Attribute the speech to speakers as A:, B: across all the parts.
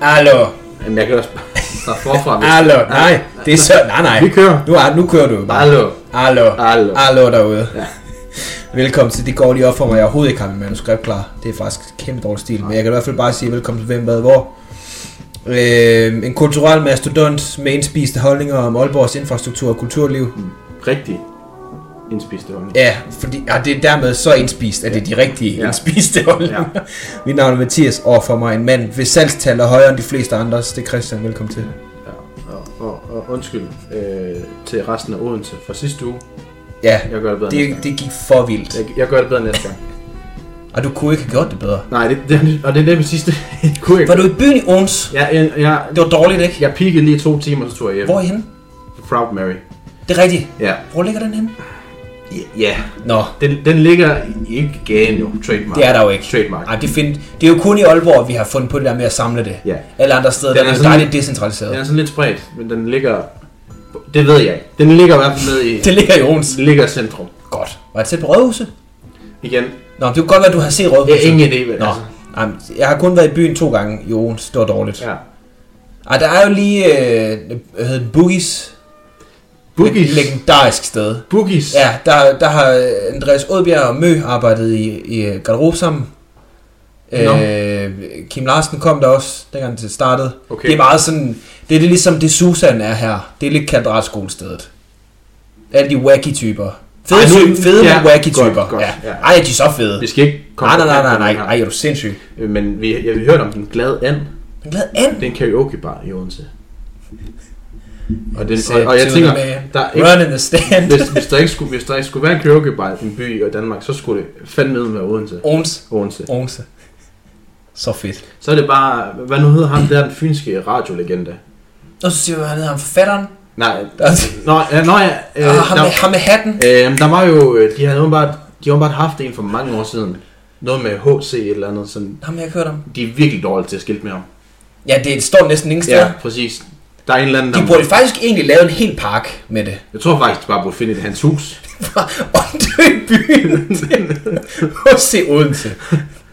A: Allo,
B: Jamen, jeg kan også starte forfra. hvis-
A: allo, nej, det er så, nej, nej.
C: Vi kører.
A: Nu, er, nu kører du.
B: Allo.
A: Allo,
B: Allo.
A: allo derude. Velkommen til, det går lige op for mig, jeg overhovedet ikke har mit manuskript klar. Det er faktisk kæmpe dårlig stil, men jeg kan i hvert fald bare sige velkommen til Hvem Hvad Hvor. Øh, en kulturel mastodont med indspiste holdninger om Aalborgs infrastruktur og kulturliv.
B: Rigtig indspiste hånd.
A: Ja, fordi, ja, det er dermed så indspist, at det er de rigtige ja.
B: Ja.
A: indspiste holdninger. Ja.
B: Ja.
A: Mit navn er Mathias, og for mig en mand, hvis salgstal er højere end de fleste andres. Det er Christian, velkommen til.
B: Ja. Og, og, og undskyld øh, til resten af Odense fra sidste uge.
A: Ja,
B: Jeg gør det bedre næste
A: det,
B: gang.
A: det gik for vildt.
B: Jeg, jeg gør det bedre næste gang.
A: Og du kunne ikke have gjort det bedre.
B: Nej, det, det, og det er det præcis det. jeg kunne ikke.
A: Var du i byen i Ons?
B: Jeg, jeg, jeg,
A: Det var dårligt, ikke?
B: jeg peakede lige i to timer, så tog jeg hjem.
A: Hvor er I henne?
B: Proud Mary.
A: Det er rigtigt.
B: Ja.
A: Hvor ligger den henne?
B: Ja.
A: Nå,
B: Den, den ligger i- ikke gaden jo. Trademark.
A: det er der jo ikke.
B: Trademark.
A: Ej, det, find, det er jo kun i Aalborg, vi har fundet på det der med at samle det.
B: Ja.
A: Alle andre steder,
B: Den
A: der er
B: er
A: det jo
B: sådan-
A: dejligt decentraliseret.
B: Den er sådan lidt spredt, men den ligger... Det ved jeg ikke. Den ligger i hvert fald ned i...
A: Det ligger i Ons.
B: Den ligger i centrum.
A: Godt. Var det tæt på Rådhuset?
B: Igen.
A: Nå, det kunne godt være, at du har set
B: Jeg
A: Rådhuset.
B: har ingen idé, hvad
A: Nå, Ej, men jeg har kun været i byen to gange i Ons. Det var dårligt.
B: Ja.
A: Ej, der er jo lige, øh, hvad hedder det, Boogies.
B: Boogies.
A: Et legendarisk sted.
B: Boogies.
A: Ja, der, der har øh, Andreas Odbjerg og Mø arbejdet i, i øh, garderobe sammen.
B: Nå.
A: Øh, Kim Larsen kom der også, dengang det startede.
B: Okay.
A: Det er meget sådan, det er det ligesom det Susan er her. Det er lidt kvadratskolestedet. Alle de wacky typer. Fede,
B: Ej, nu-
A: typer, fede
B: ja,
A: men wacky
B: godt,
A: typer.
B: godt,
A: ja.
B: ja.
A: Ej, er de så fede.
B: Vi skal ikke
A: Nej, nej, nej, nej, nej,
B: på
A: nej,
B: den
A: er du sindssyg.
B: her. Men vi, jeg, vi hørte om den glade and.
A: Den glad and.
B: Det er en karaokebar i Odense. Og, den,
A: Sagde
B: og, og jeg
A: to
B: tænker,
A: the man,
B: der er ikke,
A: Run in the stand.
B: hvis, hvis, der ikke skulle, hvis der ikke skulle være en karaokebar i en by i Danmark, så skulle det fandme med Odense.
A: Ons.
B: Odense.
A: Onse. Så fedt.
B: Så er det bare, hvad nu hedder ham der, den fynske radiolegende?
A: Og så siger vi, han hedder ham forfatteren.
B: Nej,
A: Der,
B: nå, ja, nå ja, øh,
A: øh, ham, med,
B: der,
A: ham med hatten.
B: øh, der var jo, øh, de havde åbenbart, de havde åbenbart haft en for mange år siden. Noget med HC et eller andet, sådan,
A: Ham har jeg kørt om.
B: de er virkelig dårlige til at skilte med ham.
A: Ja, det står næsten ingen steder.
B: Ja, præcis. Der er en eller anden,
A: De
B: der,
A: burde faktisk egentlig lave en hel park med det.
B: jeg tror faktisk, de bare burde finde et hans hus.
A: Og dø i byen til H.C. Odense.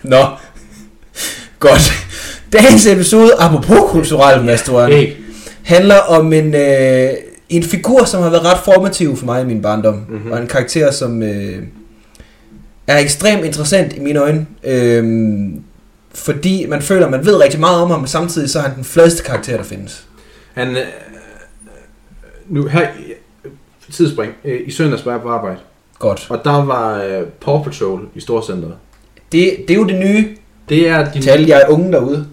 A: Nå. Godt. Dagens episode, apropos kulturel masturbering,
B: Hey,
A: handler om en, øh, en figur, som har været ret formativ for mig i min barndom.
B: Mhm.
A: Mm-hmm. Og en karakter, som øh, er ekstremt interessant i mine øjne. Øh, fordi man føler, man ved rigtig meget om ham, men samtidig så er han den fladeste karakter, der findes.
B: han, øh, nu her, øh, tidsspring, øh, i søndags var jeg på arbejde,
A: Godt.
B: og der var øh, Paw Patrol i Storcenteret.
A: Det, det er jo det nye
B: Det er de...
A: tal, jeg er unge derude.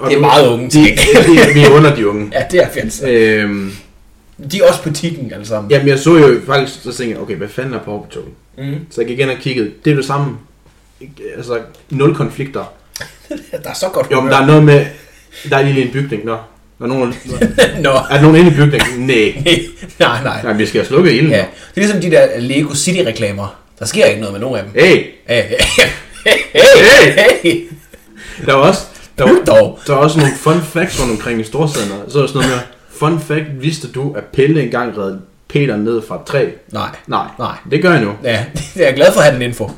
B: og
A: Det er
B: nu-
A: meget unge
B: De,
A: ting.
B: vi, vi er under de unge.
A: Ja, det er fjernsyn.
B: Øhm,
A: De er også på tikken alle sammen.
B: jamen, jeg så jo faktisk, så tænkte jeg, okay, hvad fanden er Paw Patrol?
A: Mm.
B: Så jeg gik ind og kiggede, det er det samme. Ikke, Altså, nul konflikter.
A: Der er så godt
B: Jo, men der er noget med, der er lige en bygning, nå. Der er nogen,
A: Nå,
B: er der nogen inde i bygningen? Nej.
A: nej, nej.
B: Nej, vi skal have slukket ilden.
A: Ja.
B: Ja.
A: Det er ligesom de der Lego City-reklamer. Der sker ikke noget med nogen af dem.
B: Hey,
A: Hey, hey, hey, hey.
B: der var også, der var,
A: Lyt dog.
B: der var også nogle fun facts rundt omkring i Storcenter. Så er der sådan noget med, fun fact, vidste du, at Pelle engang redde Peter ned fra et træ?
A: Nej,
B: Nej,
A: nej.
B: det gør jeg nu.
A: Ja, jeg er glad for at have den info.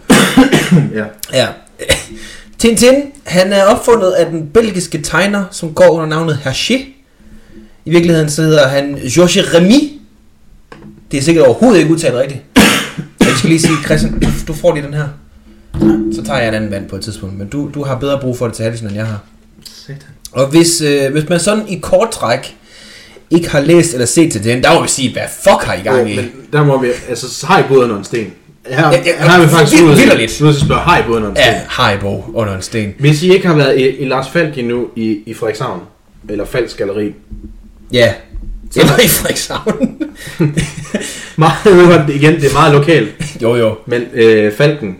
B: Ja.
A: Ja. Tintin, han er opfundet af den belgiske tegner, som går under navnet Hergé. I virkeligheden så hedder han Georges Remy. Det er sikkert overhovedet ikke udtalt rigtigt. Jeg skal lige sige, Christian, du får lige den her. Så tager jeg en anden vand på et tidspunkt, men du, du har bedre brug for det til halsen, end jeg har.
B: Satan.
A: Og hvis, øh, hvis man sådan i kort træk ikke har læst eller set til den, der må vi sige, hvad fuck har I
B: Jo,
A: gang i?
B: men der må vi, altså, så har I både under en sten. Her,
A: Ja,
B: ja,
A: ja,
B: ja, her er vi faktisk
A: vildt-
B: ude til-
A: vildt.
B: ude til at spørge, har I både under en sten?
A: Ja, Haribo under en sten.
B: Hvis I ikke har været i, i Lars Falk endnu i, i Frederikshavn, eller Falks Galeri,
A: Ja, eller i Frederikshavn.
B: meget, nu var det igen, det er meget lokalt,
A: jo jo,
B: men øh, Falken,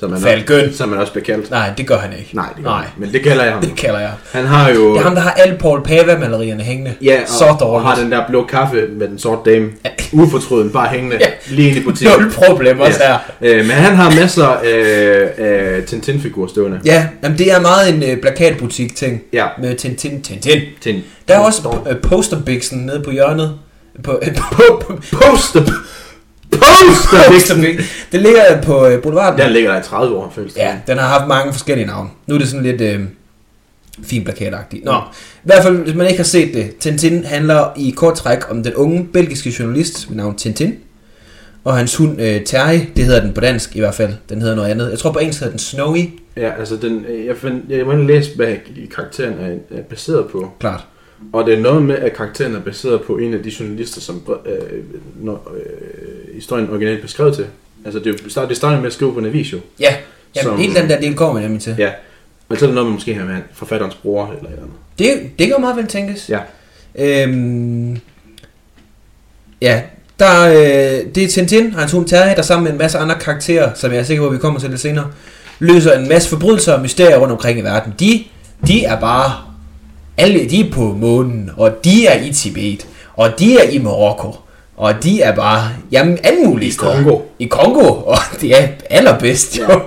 B: som han,
A: Falken.
B: Også, som han også bliver kaldt.
A: nej, det gør han ikke.
B: Nej, det gør
A: Nej.
B: han ikke, men det kalder jeg ham.
A: Det kalder jeg.
B: Han har jo...
A: Det er ham, der har alle Paul Pava-malerierne hængende.
B: Ja, og,
A: så
B: og
A: dårligt.
B: har den der blå kaffe med den sorte dame, ufortrøden, bare hængende,
A: Ja.
B: lige ind i butikken.
A: Nul problem også her.
B: Øh, men han har masser af øh, øh, Tintin-figurer stående.
A: Ja, jamen det er meget en øh, plakatbutik-ting.
B: Ja.
A: Med Tintin, Tintin.
B: Tin-
A: Der er jo også øh, posterbiksen nede på hjørnet. På, øh, på, på,
B: Poster! Poster!
A: posterbiksen. Det ligger på øh, boulevarden.
B: Den ligger der i 30 år, føles det.
A: Ja, den har haft mange forskellige navne. Nu er det sådan lidt... Øh, Fin plakatagtig. Nå, i hvert fald, hvis man ikke har set det, Tintin handler i kort træk om den unge belgiske journalist ved navn Tintin, og hans hund øh, Terje, det hedder den på dansk i hvert fald, den hedder noget andet. Jeg tror på engelsk hedder den Snowy,
B: Ja, altså den, øh, jeg, fandt, jeg må lige læse, hvad karakteren er, er baseret på.
A: klart.
B: Og det er noget med, at karakteren er baseret på en af de journalister, som øh, når, øh, historien originalt beskrev til. Altså det, er jo start, det starter med at skrive på en avis jo.
A: Ja, jamen,
B: Som-
A: hele den der del kommer jeg nemlig til.
B: Ja. Og så er det noget med måske her med forfatterens bror eller et eller andet.
A: Det, det kan jo meget vel tænkes.
B: Ja.
A: Øhm, ja, der, øh, det er Tintin og hans hund Terje, der sammen med en masse andre karakterer, som jeg er sikker på, at vi kommer til lidt senere, løser en masse forbrydelser og mysterier rundt omkring i verden. De, de er bare... Alle, de er på månen, og de er i Tibet, og de er i Marokko, og de er bare, jamen, alle mulige
B: I
A: steder.
B: Congo.
A: I Kongo, og det er allerbedst, jo.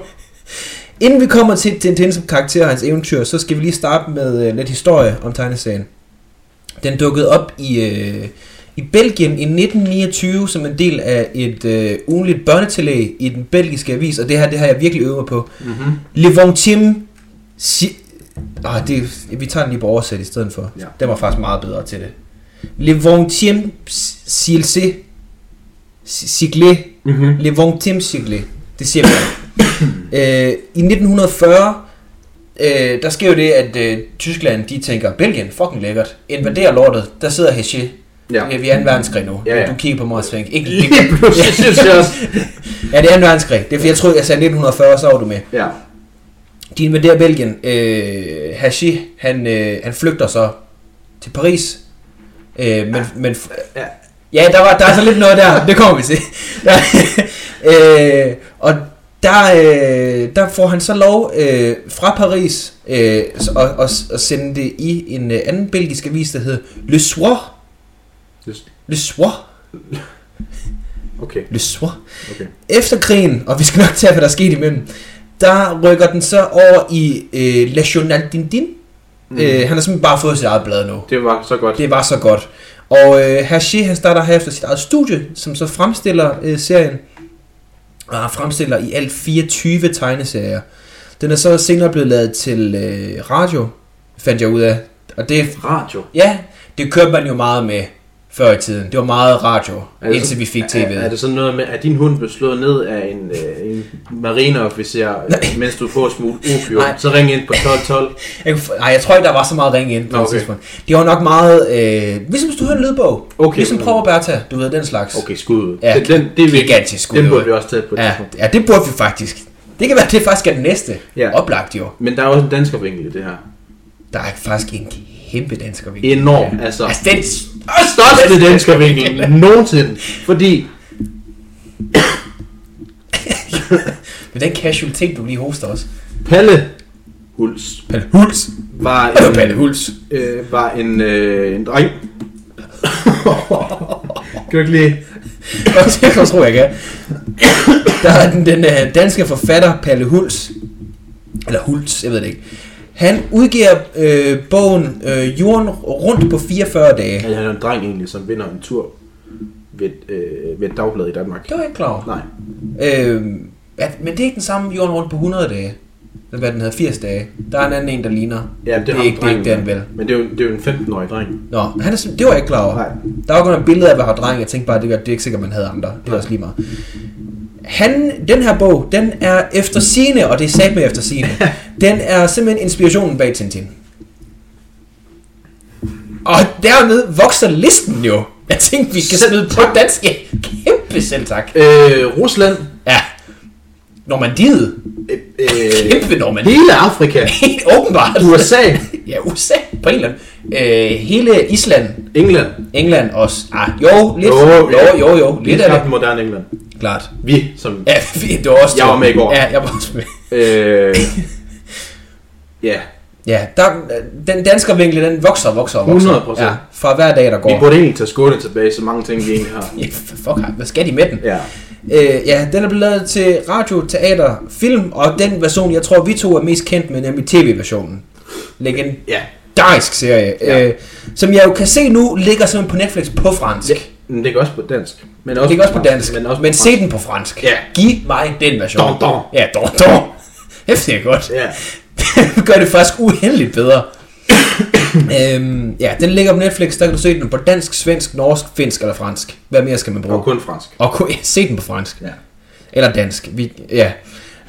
A: Inden vi kommer til Tintin som karakter og hans eventyr, så skal vi lige starte med øh, lidt historie om tegneserien. Den dukkede op i, øh, i Belgien i 1929 som en del af et øh, ugenligt børnetillæg i den belgiske avis, og det her det har jeg virkelig øvet mig på.
B: Mm-hmm.
A: Levantim... Si- ah, det, vi tager den lige på oversæt i stedet for.
B: Ja.
A: Den var faktisk meget bedre til det. Levantim Silse Sigle
B: Mm-hmm.
A: Levantim Sigle. Det siger man. øh, I 1940, øh, der sker jo det, at øh, Tyskland, de tænker, Belgien, fucking lækkert. Invaderer lortet, der sidder Hesje.
B: Ja.
A: Ja. Vi er 2. verdenskrig nu.
B: Ja, ja.
A: Du kigger på mig og tænker, ikke,
B: Lige pludselig synes jeg også.
A: ja, det er 2. verdenskrig. Det er fordi, jeg troede, jeg sagde 1940, så var du med.
B: Ja.
A: De invaderer Belgien. Øh, Hashi, han, øh, han flygter så til Paris. Øh, men, men,
B: Ja.
A: ja, der, var, der er så lidt noget der. Det kommer vi til. Der, øh, og der, øh, der får han så lov øh, fra Paris øh, s- og, og, og sende det i en øh, anden belgisk avis, der hedder Le Soir. Le Soir.
B: Okay,
A: Le Soir.
B: okay.
A: Efter krigen, og vi skal nok tage, hvad der skete imellem, der rykker den så over i øh, La Journal Dindin, Mm. Øh, han har simpelthen bare fået sit eget blad nu.
B: Det var så godt.
A: Det var så godt. Og øh, Hashi, han starter herefter sit eget studie, som så fremstiller øh, serien. Og han fremstiller i alt 24 tegneserier. Den er så senere blevet lavet til øh, radio, fandt jeg ud af. Og det,
B: Radio.
A: ja, det kørte man jo meget med før i tiden. Det var meget radio,
B: Er det
A: indtil
B: så-
A: vi fik
B: Er, er
A: tv'et.
B: det sådan noget med, at din hund blev slået ned af en, øh, en marineofficer, øh, mens du får et smule opium?
A: Nej.
B: Så ring ind på 1212.
A: Jeg, kunne f- ej, jeg tror ikke, der var så meget ringe ind på
B: Nå,
A: okay. et
B: okay.
A: tidspunkt. Det var nok meget, øh, ligesom hvis du hører en lydbog.
B: Okay.
A: Ligesom Prøv Bertha, du ved, den slags.
B: Okay, skud ud.
A: Ja,
B: den, den, det er vigtigt.
A: gigantisk skud
B: Den
A: ud.
B: burde vi også tage på et
A: Ja,
B: tidspunkt.
A: ja, det burde vi faktisk. Det kan være, det faktisk er den næste.
B: Ja.
A: Oplagt jo.
B: Men der er også en danskervinkel i det her.
A: Der er faktisk en kæmpe dansker vinkel.
B: Enorm, altså.
A: Altså, den
B: Største danskervinkel nogensinde. Fordi,
A: med den casualitet, du lige hoster også.
B: Palle Huls
A: Palle Huls.
B: var
A: Øh,
B: en,
A: Palle Huls.
B: øh, var en, øh, en dreng. kan du ikke lige...
A: det kan jeg tro, jeg kan. Der er den, den øh, danske forfatter Palle Huls. Eller Huls, jeg ved det ikke. Han udgiver øh, bogen øh, Jorden rundt på 44 dage.
B: Ja, han er en dreng egentlig, som vinder en tur ved, et, øh, ved et dagblad i Danmark.
A: Det var jeg ikke klar over.
B: Nej.
A: Øh, ja, men det er ikke den samme jorden rundt på 100 dage. Eller Hvad den hedder, 80 dage. Der er en anden en, der ligner.
B: Ja, det,
A: det, er
B: ham
A: ikke, det er
B: drengen.
A: ikke den vel.
B: Men det er jo, det er jo en 15-årig dreng.
A: Nå, han er, sim- det var jeg ikke klar over.
B: Nej.
A: Der var kun et billede af, hvad har dreng. Jeg tænkte bare, det var- det er ikke sikkert, man havde andre. Det var også lige meget. Han, den her bog, den er efter sine, og det er sat med efter sine. den er simpelthen inspirationen bag Tintin. Og dermed vokser listen jo. Jeg tænkte, vi skal
B: Selv
A: smide på
B: tak.
A: dansk. Ja, Kæmpe selv tak.
B: Øh, Rusland.
A: Ja. Normandiet.
B: Øh, øh,
A: Kæmpe Normandiet.
B: hele Afrika.
A: Helt åbenbart.
B: USA.
A: Ja, USA på en eller anden. Øh, hele Island,
B: England.
A: England også. Ah, jo, lidt.
B: Jo,
A: jo, jo, jo,
B: Det
A: lidt
B: er
A: af
B: klart
A: det.
B: moderne England.
A: Klart.
B: Vi, som...
A: Ja, det var også
B: Jeg var med i går.
A: Ja, jeg var også med.
B: Øh, ja,
A: Ja, der, den danske vinkel, den vokser og vokser og vokser.
B: 100%.
A: Ja, fra hver dag, der går.
B: vi burde egentlig tage skåne tilbage, så mange ting vi egentlig har.
A: Ja, fuck, hvad skal de med den?
B: Ja.
A: Øh, ja, den er blevet lavet til radio, teater, film, og den version, jeg tror, vi to er mest kendt med, nemlig tv-versionen. Legend,
B: Ja.
A: legendarisk serie,
B: Ja.
A: ja. øh, som jeg jo kan se nu, ligger simpelthen på Netflix på fransk.
B: ja.
A: Ja,
B: Men det er også på dansk. Men også
A: det ligger også på dansk,
B: Men også
A: men
B: på
A: se den på fransk.
B: Ja.
A: Giv mig den version.
B: Don, don.
A: Ja, don, don. Hæft, det er godt.
B: fransk. Ja.
A: Gør det faktisk uheldigt bedre. øhm, ja, den ligger på Netflix, der kan du se den på dansk, svensk, norsk, finsk eller fransk. Hvad mere skal man bruge?
B: Og kun fransk.
A: Og kunne ja, se den på fransk.
B: Ja.
A: Eller dansk. Vi, ja.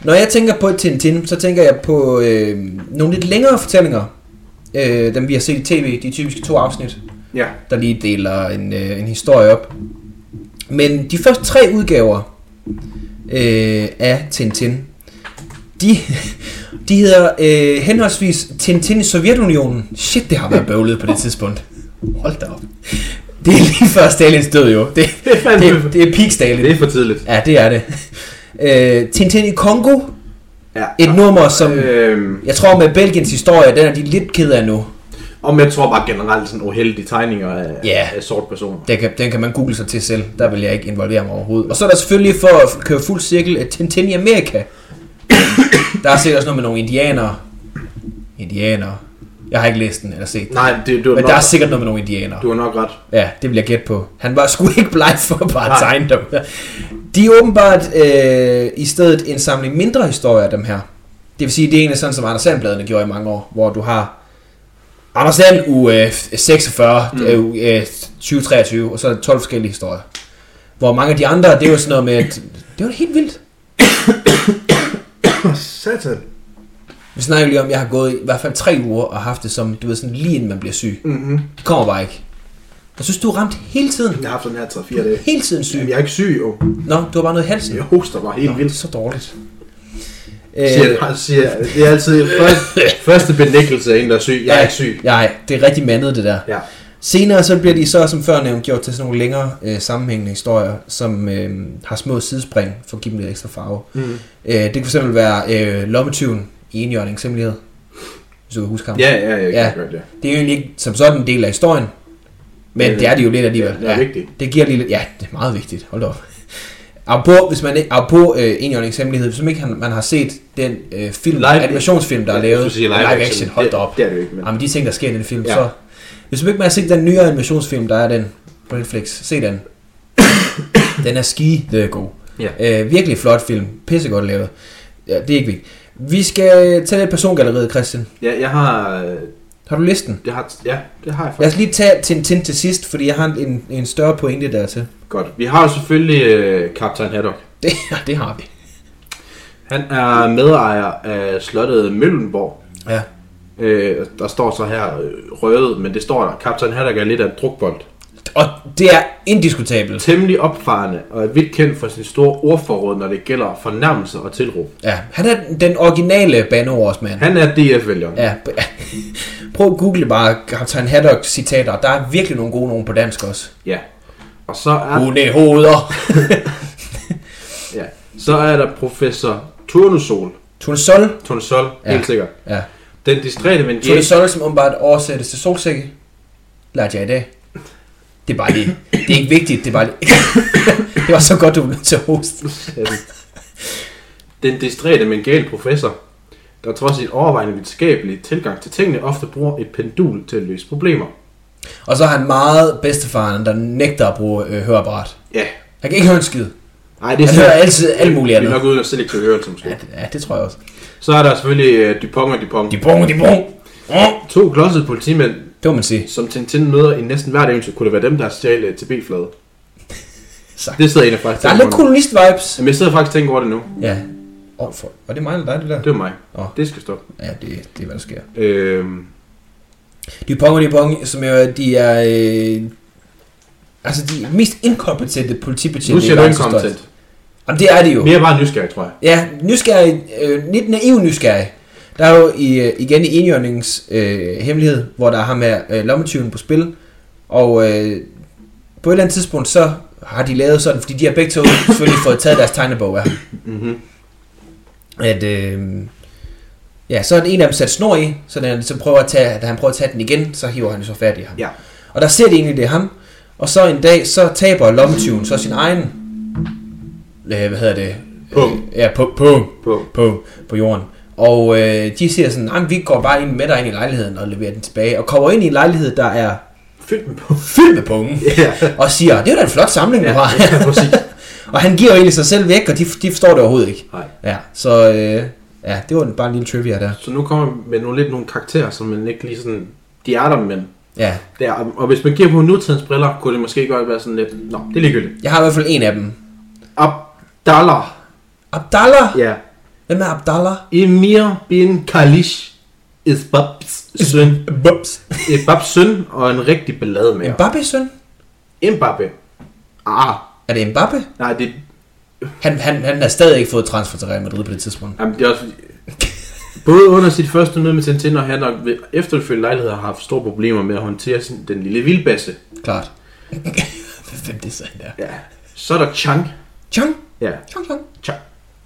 A: Når jeg tænker på Tintin, så tænker jeg på øh, nogle lidt længere fortællinger. Øh, dem vi har set i tv, de typiske to afsnit,
B: Ja.
A: der lige deler en, øh, en historie op. Men de første tre udgaver øh, af Tintin, de, de hedder øh, henholdsvis Tintin i Sovjetunionen. Shit, det har været bøvlet på det tidspunkt. Hold da op. Det er lige før Stalins død jo. Det,
B: Det er fandme...
A: det, det er peak Stalin.
B: Det er for tidligt.
A: Ja, det er det. Øh, Tintin i Kongo,
B: Ja.
A: et nummer, som
B: Øhm,
A: jeg tror med Belgiens historie, den er de lidt ked af nu.
B: og jeg tror bare generelt sådan uheldige tegninger af,
A: Ja.
B: af sort personer.
A: Den kan, den kan man google sig til selv, der vil jeg ikke involvere mig overhovedet. Og så er der selvfølgelig for at køre fuld cirkel, øh, Tintin i Amerika. der er sikkert også noget med nogle indianere. Indianere. Jeg har ikke læst den eller set den.
B: Nej, det, du, har
A: Men der er
B: nok,
A: sikkert noget med nogle indianere.
B: du har nok ret.
A: Ja, det vil jeg gætte på. Han var sgu ikke bleg for bare at
B: Nej.
A: tegne dem. De er åbenbart øh, i stedet en samling mindre historier af dem her. Det vil sige, det er egentlig sådan, som Anders Sandbladene gjorde i mange år, hvor du har Anders Sand u øh, 46, mm. øh, 2023, og så er der 12 forskellige historier. Hvor mange af de andre, det er jo sådan noget med, at det var helt vildt.
B: Satan.
A: Vi snakker lige om, at jeg har gået i hvert fald tre uger og haft det som, du ved, sådan lige inden man bliver syg.
B: Mm-hmm.
A: Det kommer bare ikke. Jeg synes, du er ramt hele tiden.
B: Jeg har haft sådan her 3-4 dage.
A: Hele tiden
B: Jamen,
A: syg.
B: jeg er ikke syg, jo.
A: Nå, du har bare noget i halsen.
B: Jeg hoster bare helt
A: Nå,
B: vildt.
A: Så dårligt.
B: Siger, øh, siger, det er altid første, første benækkelse af en, der er syg. Jeg er
A: ja,
B: ikke syg.
A: Nej, det er rigtig mandet det der.
B: Ja.
A: Senere så bliver de så, som før nævnt, gjort til sådan nogle længere øh, sammenhængende historier, som øh, har små sidespring for at give dem lidt ekstra farve.
B: Mm.
A: Øh, det kan fx være øh, lommetyven i enhjørningens hemmelighed, hvis du kan huske ham.
B: Ja, ja, jeg kan
A: Ja.
B: godt gøre det.
A: Det er jo egentlig ikke som sådan en del af historien, men
B: Øh,
A: det er det jo lidt alligevel.
B: Det er vigtigt.
A: Det giver lige lidt... Ja, det er meget vigtigt. Hold da op. Apropos, hvis man ikke... Apropos øh, enhjørningens hemmelighed, hvis man ikke har, man har set den øh, film,
B: Live-
A: animationsfilm, der er
B: Jeg
A: lavet
B: skulle sige live action.
A: hold da
B: Det-
A: op. Ah.
B: det er det jo ikke, men-
A: Men... Jamen, de ting, der sker i den film, ja.
B: Ja.
A: så... Hvis man ikke man har set den nye animationsfilm, der er den på Netflix, se den. den er skide god.
B: Ja.
A: Øh, virkelig flot film. Pissegodt lavet. Ja, det er ikke vigtigt. Vi skal øh, tage lidt persongalleriet, Christian.
B: Ja, jeg har... øh,
A: Har du listen?
B: Det har, ja, det har jeg
A: Lad
B: faktisk.
A: os lige tage Tintin til sidst, fordi jeg har en, en større pointe dertil.
B: Godt. Vi har jo selvfølgelig øh, Kaptajn Haddock.
A: Det, det har vi.
B: Han er medejer af slottet Møllenborg.
A: Ja.
B: Øh, der står så her øh, røget, men det står der. Kaptajn Haddock er lidt af en drukbold.
A: Og det er indiskutabelt.
B: Temmelig opfarende og er vidt kendt for sin store ordforråd, når det gælder fornærmelser og tilråb.
A: Ja, han er den originale bandeordsmand.
B: Han er DF-vælgeren. Ja.
A: Ja, prøv at google bare Captain Haddock citater. Der er virkelig nogle gode nogen på dansk også.
B: ja. Og så er,
A: Hunde hoveder.
B: ja, så er der professor Turnusol.
A: Tunesol.
B: Turnusol,
A: Ja.
B: ja. helt sikkert.
A: Ja.
B: Den distræte men
A: Tunesol, som åbenbart oversættes til solsikke. Lærte jeg i dag. Det er bare lige. Det er ikke vigtigt, det er bare lige. det var så godt, du blev nødt til at hoste.
B: Den distræte men gale professor, der trods sin overvejende videnskabelige tilgang til tingene, ofte bruger et pendul til at løse problemer.
A: Og så er han meget bedstefaren, der nægter at bruge øh, høreapparat.
B: Ja.
A: Han kan ikke høre en skid.
B: Nej, Altså,
A: Han
B: det er
A: hører altid alt muligt
B: Vi er
A: andet.
B: nok uden at selektiv hørelse måske.
A: Ja, det- ja, det tror jeg også.
B: Så er der selvfølgelig uh, Dupont og Dupont.
A: De brung, de brung.
B: To klodsede politimænd,
A: Det må man sige.
B: som Tintin møder i næsten hvert eventyr, kunne det være dem, der har stjålet til B-flade.
A: Sagt.
B: Det sidder jeg egentlig faktisk
A: Der er
B: tænker
A: lidt
B: over nu.
A: kolonist-vibes.
B: Jamen, jeg sidder faktisk og tænker over det nu.
A: Ja. Åh, oh, for... Var det mig eller dig, det der?
B: Det var mig.
A: Åh.
B: Det skal stå.
A: Ja, det, det er, hvad der sker.
B: Øhm,
A: Dupont og Dupont, som jo er- de er... Øh, altså, de mest inkompetente politibetjente.
B: nu
A: i
B: siger du
A: verdenshistorien.
B: inkompetent.
A: Jamen, det er de jo.
B: Mere bare nysgerrig, tror jeg.
A: Ja, nysgerrig, øh, lidt naiv nysgerrig. Der er jo i, øh, igen i enhjørningens øh, hemmelighed, hvor der er ham med øh, lommetyven på spil, og øh, på et eller andet tidspunkt, så har de lavet sådan, fordi de har begge to selvfølgelig fået taget deres tegnebog af ham.
B: Mhm.
A: At, øh, ja, så er den ene af dem sat snor i, så, den, så prøver at tage, da han prøver at tage den igen, så hiver han jo så fat i ham.
B: Ja.
A: Og der ser de egentlig, det er ham, og så en dag, så taber lommetyven så sin egen, øh, hvad hedder det?
B: Pung.
A: Øh, ja, pung. pung
B: På.
A: på, på jorden. Og øh, de siger sådan, nej, vi går bare ind med dig ind i lejligheden og leverer den tilbage. Og kommer ind i en lejlighed, der er
B: Fyld den på.
A: fyldt med punge.
B: Ja.
A: Og siger, det er da en flot samling, du
B: Ja,
A: har.
B: præcis.
A: og han giver jo egentlig sig selv væk, og de, de forstår det overhovedet ikke.
B: Nej.
A: Ja, så øh, Ja, det var en- bare en lille trivia der.
B: Så nu kommer vi med nogle, lidt nogle karakterer, som man ikke lige sådan... De er der, men...
A: Ja,
B: Der, og hvis man giver på nutidens briller, kunne det måske godt være sådan lidt... Nå, det er ligegyldigt.
A: jeg har i hvert fald en af dem.
B: Abdallah.
A: Abdallah?
B: Ja.
A: Hvem er Abdallah?
B: Emir bin Khalish. Isbabs søn.
A: Bubs.
B: Isbabs søn Eh, og en rigtig ballade med.
A: Mbappé søn?
B: Mbappe. Ah,
A: Er det Mbappé?
B: nej, det,
A: Han, han, han har stadig ikke fået transfer til Real Madrid på det tidspunkt.
B: jamen, det er også fordi... Både under sit første møde med Tintin og han og ved efterfølgende lejligheder har haft store problemer med at håndtere sin, den lille vildbasse.
A: Klart. Hvem det så er der?
B: Ja. Så er der Chang.
A: Chang?
B: Ja,
A: Chang, Chang.
B: Chang.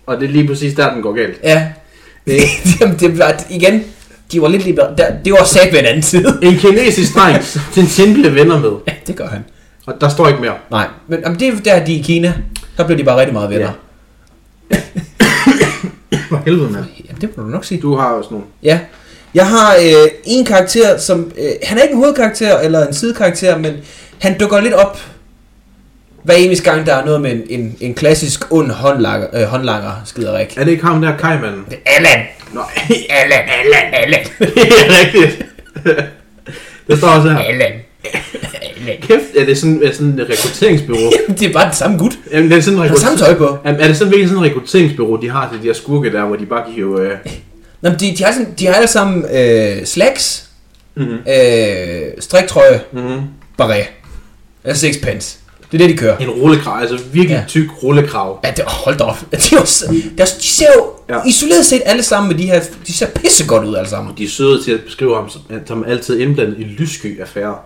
B: Og det er lige præcis der, den går galt.
A: Ja.
B: Øh.
A: Jamen, det var, igen, de var lidt lige... Der, det var sat ved en anden side.
B: En kinesisk dreng, som Tintin blev venner med.
A: Ja, det gør han.
B: Og der står ikke mere.
A: Nej, men jamen, det er der, de er i Kina. Der blev de bare rigtig meget venner. Ja.
B: For helvede, mand.
A: Jamen, det må du nok sige.
B: Du har også nogle.
A: Ja. Jeg har øh, en karakter, som... Øh, han er ikke en hovedkarakter eller en sidekarakter, men han dukker lidt op hver eneste gang, der er noget med en, en, en klassisk ond håndlanger, øh, håndlanger skiderik.
B: Er det ikke ham der, Kajmanden?
A: Allan!
B: Nej,
A: Allan, Allan, Allan!
B: det er rigtigt. det står også her.
A: Allan! Allan!
B: Kæft, er det sådan, er det sådan et rekrutteringsbyrå?
A: det er bare den samme gut.
B: Jamen, det er sådan en
A: Han har samme
B: rekrut-
A: tøj på.
B: Jamen, er det sådan virkelig sådan et rekrutteringsbyrå, de har til de her skurke der, hvor de bare kan hive... Øh...
A: Nå, men de, de, har sådan, de har alle sammen øh, slacks,
B: Mhm.
A: øh, striktrøje,
B: Mm-hmm.
A: barret. Eller sixpence. Det er det, de kører.
B: En rullekrav, altså virkelig
A: Ja.
B: ja. tyk rullekrav.
A: Ja, det, hold da op. De, er jo, s- der, de ser jo ja.
B: Ja.
A: isoleret set alle sammen med de her... De ser pissegodt ud alle sammen.
B: De er søde til at beskrive ham som, som altid indblandet i lyssky-affærer.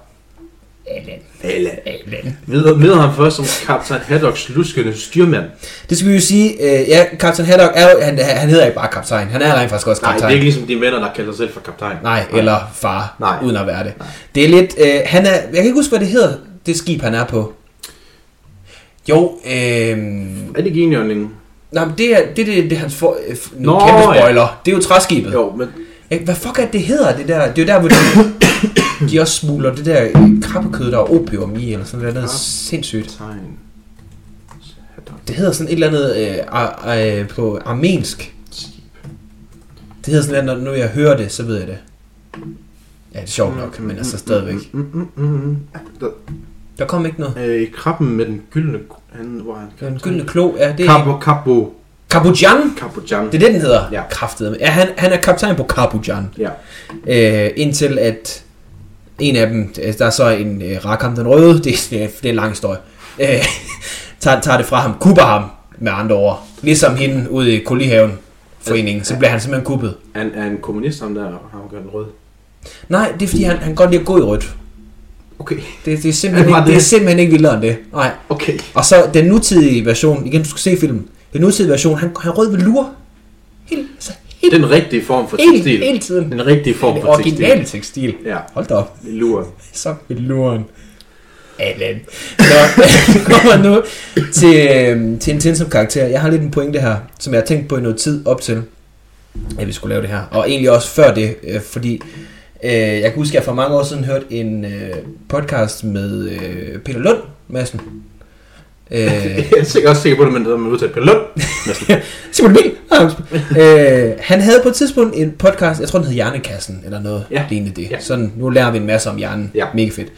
A: Allan,
B: Eller...
A: Allan.
B: Med, med ham først som kaptajn Haddocks luskende styrmand.
A: Det skal vi jo sige. Øh, ja, Captain Haddock er jo... Han, han hedder ikke bare kaptajn. Han er rent faktisk også
B: Nej,
A: kaptajn.
B: det er ikke ligesom de venner, der kalder sig selv for kaptajn.
A: Nej, eller far,
B: Nej.
A: uden at være det. Det er lidt... Øh, han er... Jeg kan ikke huske, hvad det hedder, det skib, han er på. Jo, øh,
B: Er det ikke enhjørningen?
A: nej, men det er, det, er- det, er- det er hans for, øh, f- nu,
B: Nå,
A: kæmpe
B: ja.
A: spoiler. Det er jo træskibet.
B: Jo, men
A: Ja, Hvad fuck er det, det hedder, det der? Det er jo der, hvor de, de også smuler det der øh, krabbekød, der er opium i, eller sådan noget andet
B: Ja.
A: sindssygt.
B: Tegn.
A: Det hedder sådan et eller andet øh, ar, øh, på armensk. Det hedder sådan noget, når nu jeg hører det, så ved jeg det. Ja, det er sjovt nok, men altså stadigvæk.
B: Mm, mm, mm, mm. Der,
A: Der kom ikke noget.
B: øh, krabben med den gyldne... Han, hvor er han?
A: Den gyldne klo, ja, det er...
B: Kabo, Kabo,
A: Kabujan!
B: Kabojan.
A: Det er det, den hedder.
B: Ja.
A: Kraftedeme. Ja, han, han er kaptajn på Kabujan.
B: Ja.
A: Øh, indtil at en af dem, øh, der er så en øh, Rakam den Røde, det, er- det, er- det er en lang historie, øh, tager, tager det fra ham, kubber ham med andre ord. Ligesom hende ude i Koldihaven foreningen, så bliver han simpelthen kuppet.
B: Han er en kommunist, ham der har gør den rød.
A: Nej, det er fordi, han, han godt lide at gå i rødt.
B: Okay,
A: Det, det, er simpelthen
B: Var
A: ikke,
B: det-
A: det er simpelthen ikke vildere end det. Nej.
B: okay.
A: Og så den nutidige version, igen, du skal se filmen. Den nutidige version, han, han er rød ved lure. Helt, altså, helt,
B: Den rigtige form for
A: helt,
B: tekstil.
A: hele tiden.
B: Den rigtige form
A: Det
B: for tekstil.
A: originale tekstil.
B: Ja,
A: Hold da op.
B: lure.
A: Så luren. Allan. Nå, kommer nu til, øhm, til en tin som karakter. Jeg har lidt en pointe her, som jeg har tænkt på i noget tid op til, at vi skulle lave det her. Og egentlig også før det, øh, fordi øh, jeg kan huske, at jeg for mange år siden hørte en øh, podcast med øh, Peter Lund Madsen. Øh,
B: Jeg er sikkert også sikker på det, men det er man udtalt på løn.
A: Simon Emil Amsbøl. Ah, øh, Han havde på et tidspunkt en podcast, jeg tror den hed Hjernekassen, eller noget ja.
B: Ja.
A: lignende det. Ja.
B: Ja.
A: Sådan, nu lærer vi en masse om hjernen.
B: Ja.
A: Mega fedt.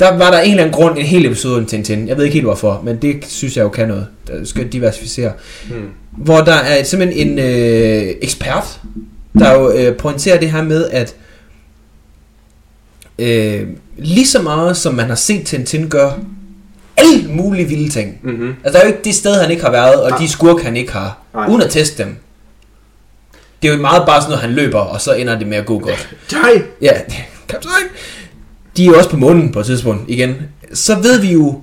A: Der var der en eller anden grund, en hel episode om Tintin. Jeg ved ikke helt hvorfor, men det synes jeg jo kan noget. Der skal diversificere.
B: Hmm.
A: Hvor der er simpelthen en øh, ekspert, der jo øh, pointerer det her med, at øh, lige så meget som man har set Tintin gøre alle mulige vilde ting,
B: Mm-hmm.
A: Altså, der er jo ikke det sted, han ikke har været, og
B: Nej.
A: de skurk, han ikke har,
B: Nej.
A: uden at teste dem. Det er jo meget bare sådan noget, han løber, og så ender det med at gå godt.
B: Jai!
A: Ja, kaptajn! De er jo også på månen på et tidspunkt igen. Så ved vi jo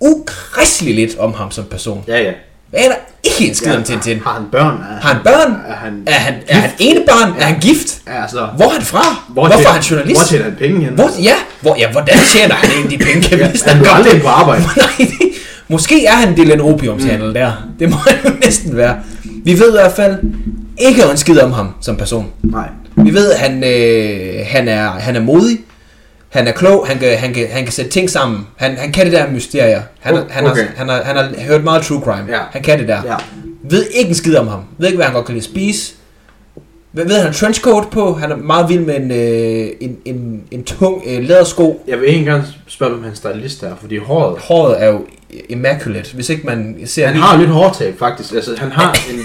A: ukristeligt lidt om ham som person.
B: Ja, ja.
A: Hvad er der ikke en skid om Tintin?
B: Har han børn? Er
A: Har han børn?
B: Er han...
A: Er han, er han enebarn? Er han gift?
B: Er altså...
A: Hvor er han fra? Hvorfor er han journalist?
B: Hvor tjener han penge henne?
A: Hvor, ja, hvor, ja, hvordan tjener han egentlig penge? Kan vi
B: Ja,
A: lige
B: han
A: snakke
B: går
A: om
B: aldrig
A: det?
B: på arbejde.
A: Nej, det, måske er han del af en opiumshandel mm. der. Det må han jo næsten være. Vi ved i hvert fald ikke en skid om ham som person.
B: Nej.
A: Vi ved, at han, øh, han, er, han er modig. Han er klog, han kan, han kan, han kan sætte ting sammen. Han, han kan det der med mysterier. Han,
B: Oh,
A: han,
B: okay.
A: har, han, har, han har hørt meget true crime.
B: Ja.
A: Han kan det der.
B: Ja.
A: Ved ikke en skid om ham. Ved ikke, hvad han godt kan lide at spise. Hvad ved han? Trenchcoat på. Han er meget vild med en, øh, en, en, en tung øh, lædersko.
B: Jeg vil ikke engang spørge, hvem hans stylist er, fordi håret...
A: Håret er jo immaculate, hvis ikke man ser...
B: Han har lidt hårtab, faktisk. Altså, han har en,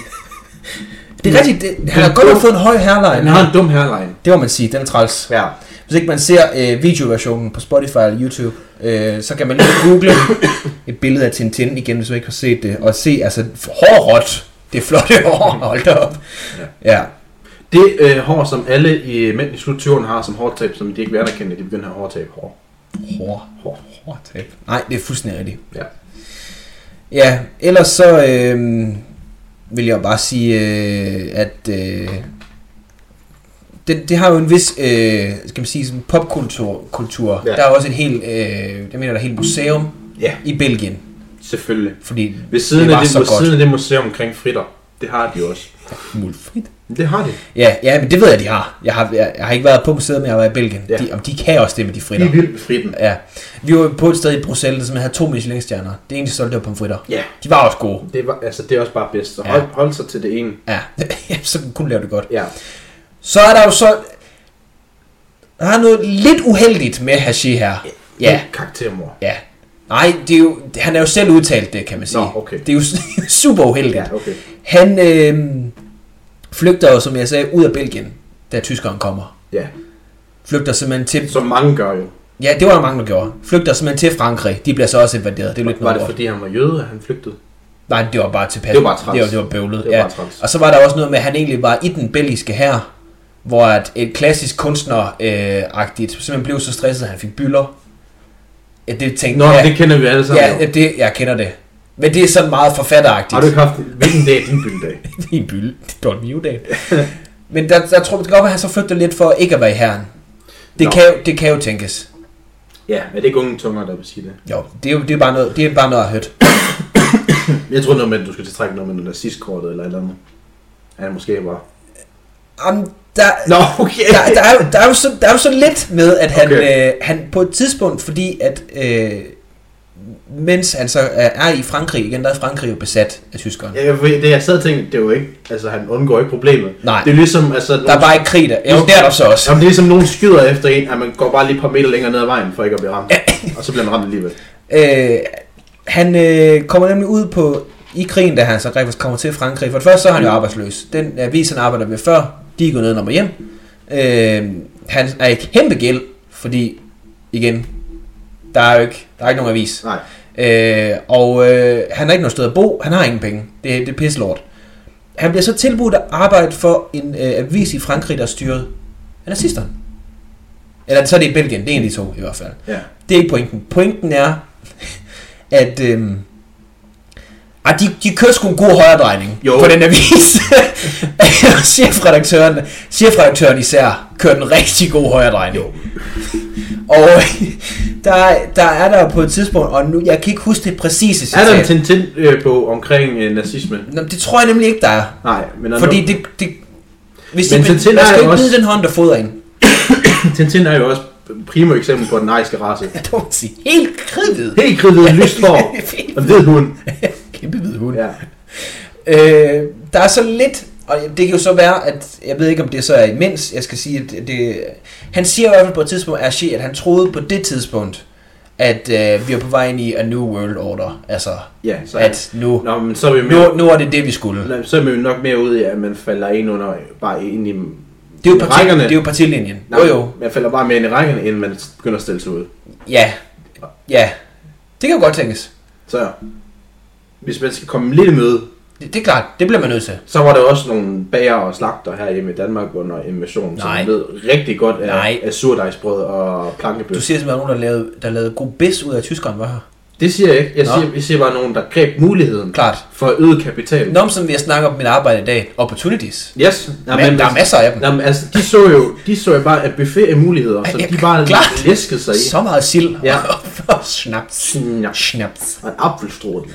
A: Det er rigtigt. Det, han har godt nok fået en høj
B: han
A: hairline.
B: har en dum hairline.
A: Det må man sige. Den er træls.
B: Ja.
A: Hvis ikke man ser øh, videoversionen på Spotify eller YouTube, øh, så kan man lige google et billede af Tintin igen, hvis man ikke har set det, og se, altså, hårråt, det er flotte hår, hold da op. Ja. ja.
B: Det øh, hår, som alle i, mænd i slut 20'erne har som hårtab, som de ikke vil anerkende, at de begynder at have hårtab hår.
A: Hår.
B: Hår.
A: Hårtab. Nej, det er fuldstændig rigtigt.
B: Ja.
A: Ja, ellers så øh, vil jeg bare sige, øh, at øh, det, det har jo en vis, øh, skal man sige, sådan popkultur. Kultur.
B: Ja.
A: Ja. Der er også et helt, øh, jeg mener, der er et helt museum
B: Ja,
A: i Belgien,
B: selvfølgelig.
A: fordi
B: Ved siden,
A: Det
B: det
A: var
B: af, det,
A: så
B: ved
A: godt.
B: siden af det museum omkring fritter, det har de også.
A: Mulfrit.
B: Det har de.
A: Ja, ja, men det ved jeg, de har. Jeg har, jeg, jeg har ikke været på museet, men jeg har været i Belgien.
B: Ja.
A: Ja. De, om de kan også det med de
B: De
A: fritter.
B: er vildt med fritten.
A: Ja. Vi var på et sted i Bruxelles, som havde to Michelin-stjerner. Det eneste solgte, det var pomfritter.
B: Ja.
A: De var også gode.
B: Det, var, altså, det er også bare bedst. Så
A: Ja.
B: hold, ja. hold sig til det ene.
A: Ja, Jamen, så kunne lave det godt.
B: Ja.
A: Så er der jo så... Der er noget lidt uheldigt med Hashi her. Ja.
B: Karaktermor.
A: Ja. Nej, det er jo, han er jo selv udtalt det, kan man sige.
B: Nå, okay.
A: Det er jo super uheldigt.
B: Ja, okay.
A: Han øh, flygter jo, som jeg sagde, ud af Belgien, da tyskeren kommer.
B: Ja.
A: Flygter simpelthen til
B: Som mange gør jo.
A: Ja, det var der mange, der gjorde. Flygter simpelthen til Frankrig. De bliver så også invaderet. Det er lidt
B: Var
A: noget
B: det
A: lort.
B: fordi, han var jøde, at han flygtede?
A: Nej, det var bare tilpas.
B: Det var bare træls.
A: Det var, det var bøvlet.
B: Det var
A: ja.
B: bare træls.
A: Og så var der også noget med, at han egentlig var i den belgiske her, hvor at et klassisk kunstner-agtigt simpelthen blev så stresset, at han fik bylder. Ja, det tænkte
B: Nå,
A: ja,
B: ja. det kender vi alle sammen.
A: ja,
B: jo.
A: ja, det, jeg kender det. Men det er sådan meget forfatteragtigt.
B: Har du ikke haft... Hvilken dag er din byldag?
A: I en bylde. Det er Don Mewdale. Men der, der tror jeg, det kan godt være, at han så flygter lidt for ikke at være i herren. Det,
B: Nå.
A: kan, jo- det kan jo tænkes.
B: Ja, men det er ikke unge tunger, der vil sige det.
A: Jo, det er jo det er bare noget, det er bare noget at høre.
B: Jeg tror noget med, at du skal tiltrække noget med noget nazistkortet eller et eller andet. Han måske var...
A: Jamen, der,
B: Nå, okay.
A: der, der, er jo, der, er jo så, der er jo så lidt med, at han,
B: Okay.
A: okay. øh, han på et tidspunkt, fordi at øh, mens han så er er i Frankrig igen, der er Frankrig jo besat af tyskerne. Ja,
B: Ja, for det jeg sad og tænkte, det var ikke... Altså, han undgår ikke problemet.
A: Nej.
B: Det er ligesom, altså...
A: der er bare ikke krig der. Jo, det er der så også.
B: Jamen, det er ligesom, nogen skyder efter en, at man går bare lige et par meter længere ned ad vejen, for ikke at blive ramt. og så bliver man ramt alligevel.
A: Øh, han øh, kommer nemlig ud på i krigen, da han så rent faktisk kommer til Frankrig. For det første så er han jo arbejdsløs. Den avis, han arbejder med før, de er gået ned og hjem. Øh, han er i kæmpe gæld, fordi igen, der er jo ikke, der er ikke nogen avis.
B: Nej.
A: Øh, og øh, han har ikke noget sted at bo, han har ingen penge. Det, det er pisselort. Han bliver så tilbudt at arbejde for en øh, avis i Frankrig, der er styret af nazisterne. Eller så er det i Belgien, det er en af de to i hvert fald.
B: Ja.
A: Det er ikke pointen. Pointen er, at... Øh, ej, de, de kører sgu en god højredrejning
B: Jo.
A: på den avis. Og chefredaktøren, chefredaktøren især kører den rigtig god højredrejning. Jo. Og der, der er der på et tidspunkt, og nu, jeg kan ikke huske det præcise
B: Er
A: citat.
B: der en Tintin-bog omkring øh, nazisme?
A: Nå, det tror jeg nemlig ikke, der er.
B: Nej, men er
A: Fordi det... det hvis
B: Men
A: de, man skal
B: Tintin er jo
A: ikke
B: også-
A: også... den hånd, der fodrer en.
B: Tintin er jo også primo eksempel på den ariske race.
A: Det må man sige. Helt kridhvid.
B: Helt kridtet, lyst hår og hvid hund.
A: Kæmpe hvid hund.
B: Ja.
A: Øh, der er så lidt, og det kan jo så være, at jeg ved ikke, om det så er imens, jeg skal sige, at det, han siger i hvert fald på et tidspunkt, Ashi, at han troede på det tidspunkt, at øh, vi er på vej ind i A New World Order. Altså,
B: ja så,
A: at nu,
B: Nå, men så er, vi mere,
A: nu, nu er det det, vi skulle.
B: Nå, så er vi jo nok mere ude i, at man falder ind under bare ind i
A: Det er jo, parti,
B: rækkerne.
A: det er jo partilinjen.
B: Nej,
A: Jo jo,
B: Man falder bare mere ind i rækkerne, inden man begynder at stille sig ud.
A: ja. Ja, det kan jo godt tænkes.
B: Så hvis man skal komme lidt i møde,
A: Det, det er klart, det bliver man nødt til.
B: så var der også nogle bager og slagter her hjemme i Danmark under invasionen,
A: Nej.
B: som ved rigtig godt af,
A: Nej.
B: af surdejsbrød og plankebøf.
A: Du siger simpelthen, at nogen, der lavede, der lavede god bedst ud af at tyskeren, var her.
B: Det siger jeg ikke. Jeg
A: Nå.
B: siger, jeg siger bare nogen, der greb muligheden
A: Klart.
B: for at øge kapital.
A: Nå, men som vi snakker om mit arbejde i dag, opportunities.
B: Yes. Nå,
A: Men, der er masser af dem.
B: Jamen, altså, de så jo, de så jo bare, at buffet af muligheder, så
A: Ja,
B: de bare
A: klart.
B: læskede sig i.
A: Så meget sild
B: Ja.
A: og snaps.
B: Snaps.
A: Snaps.
B: Og en apfelstrål.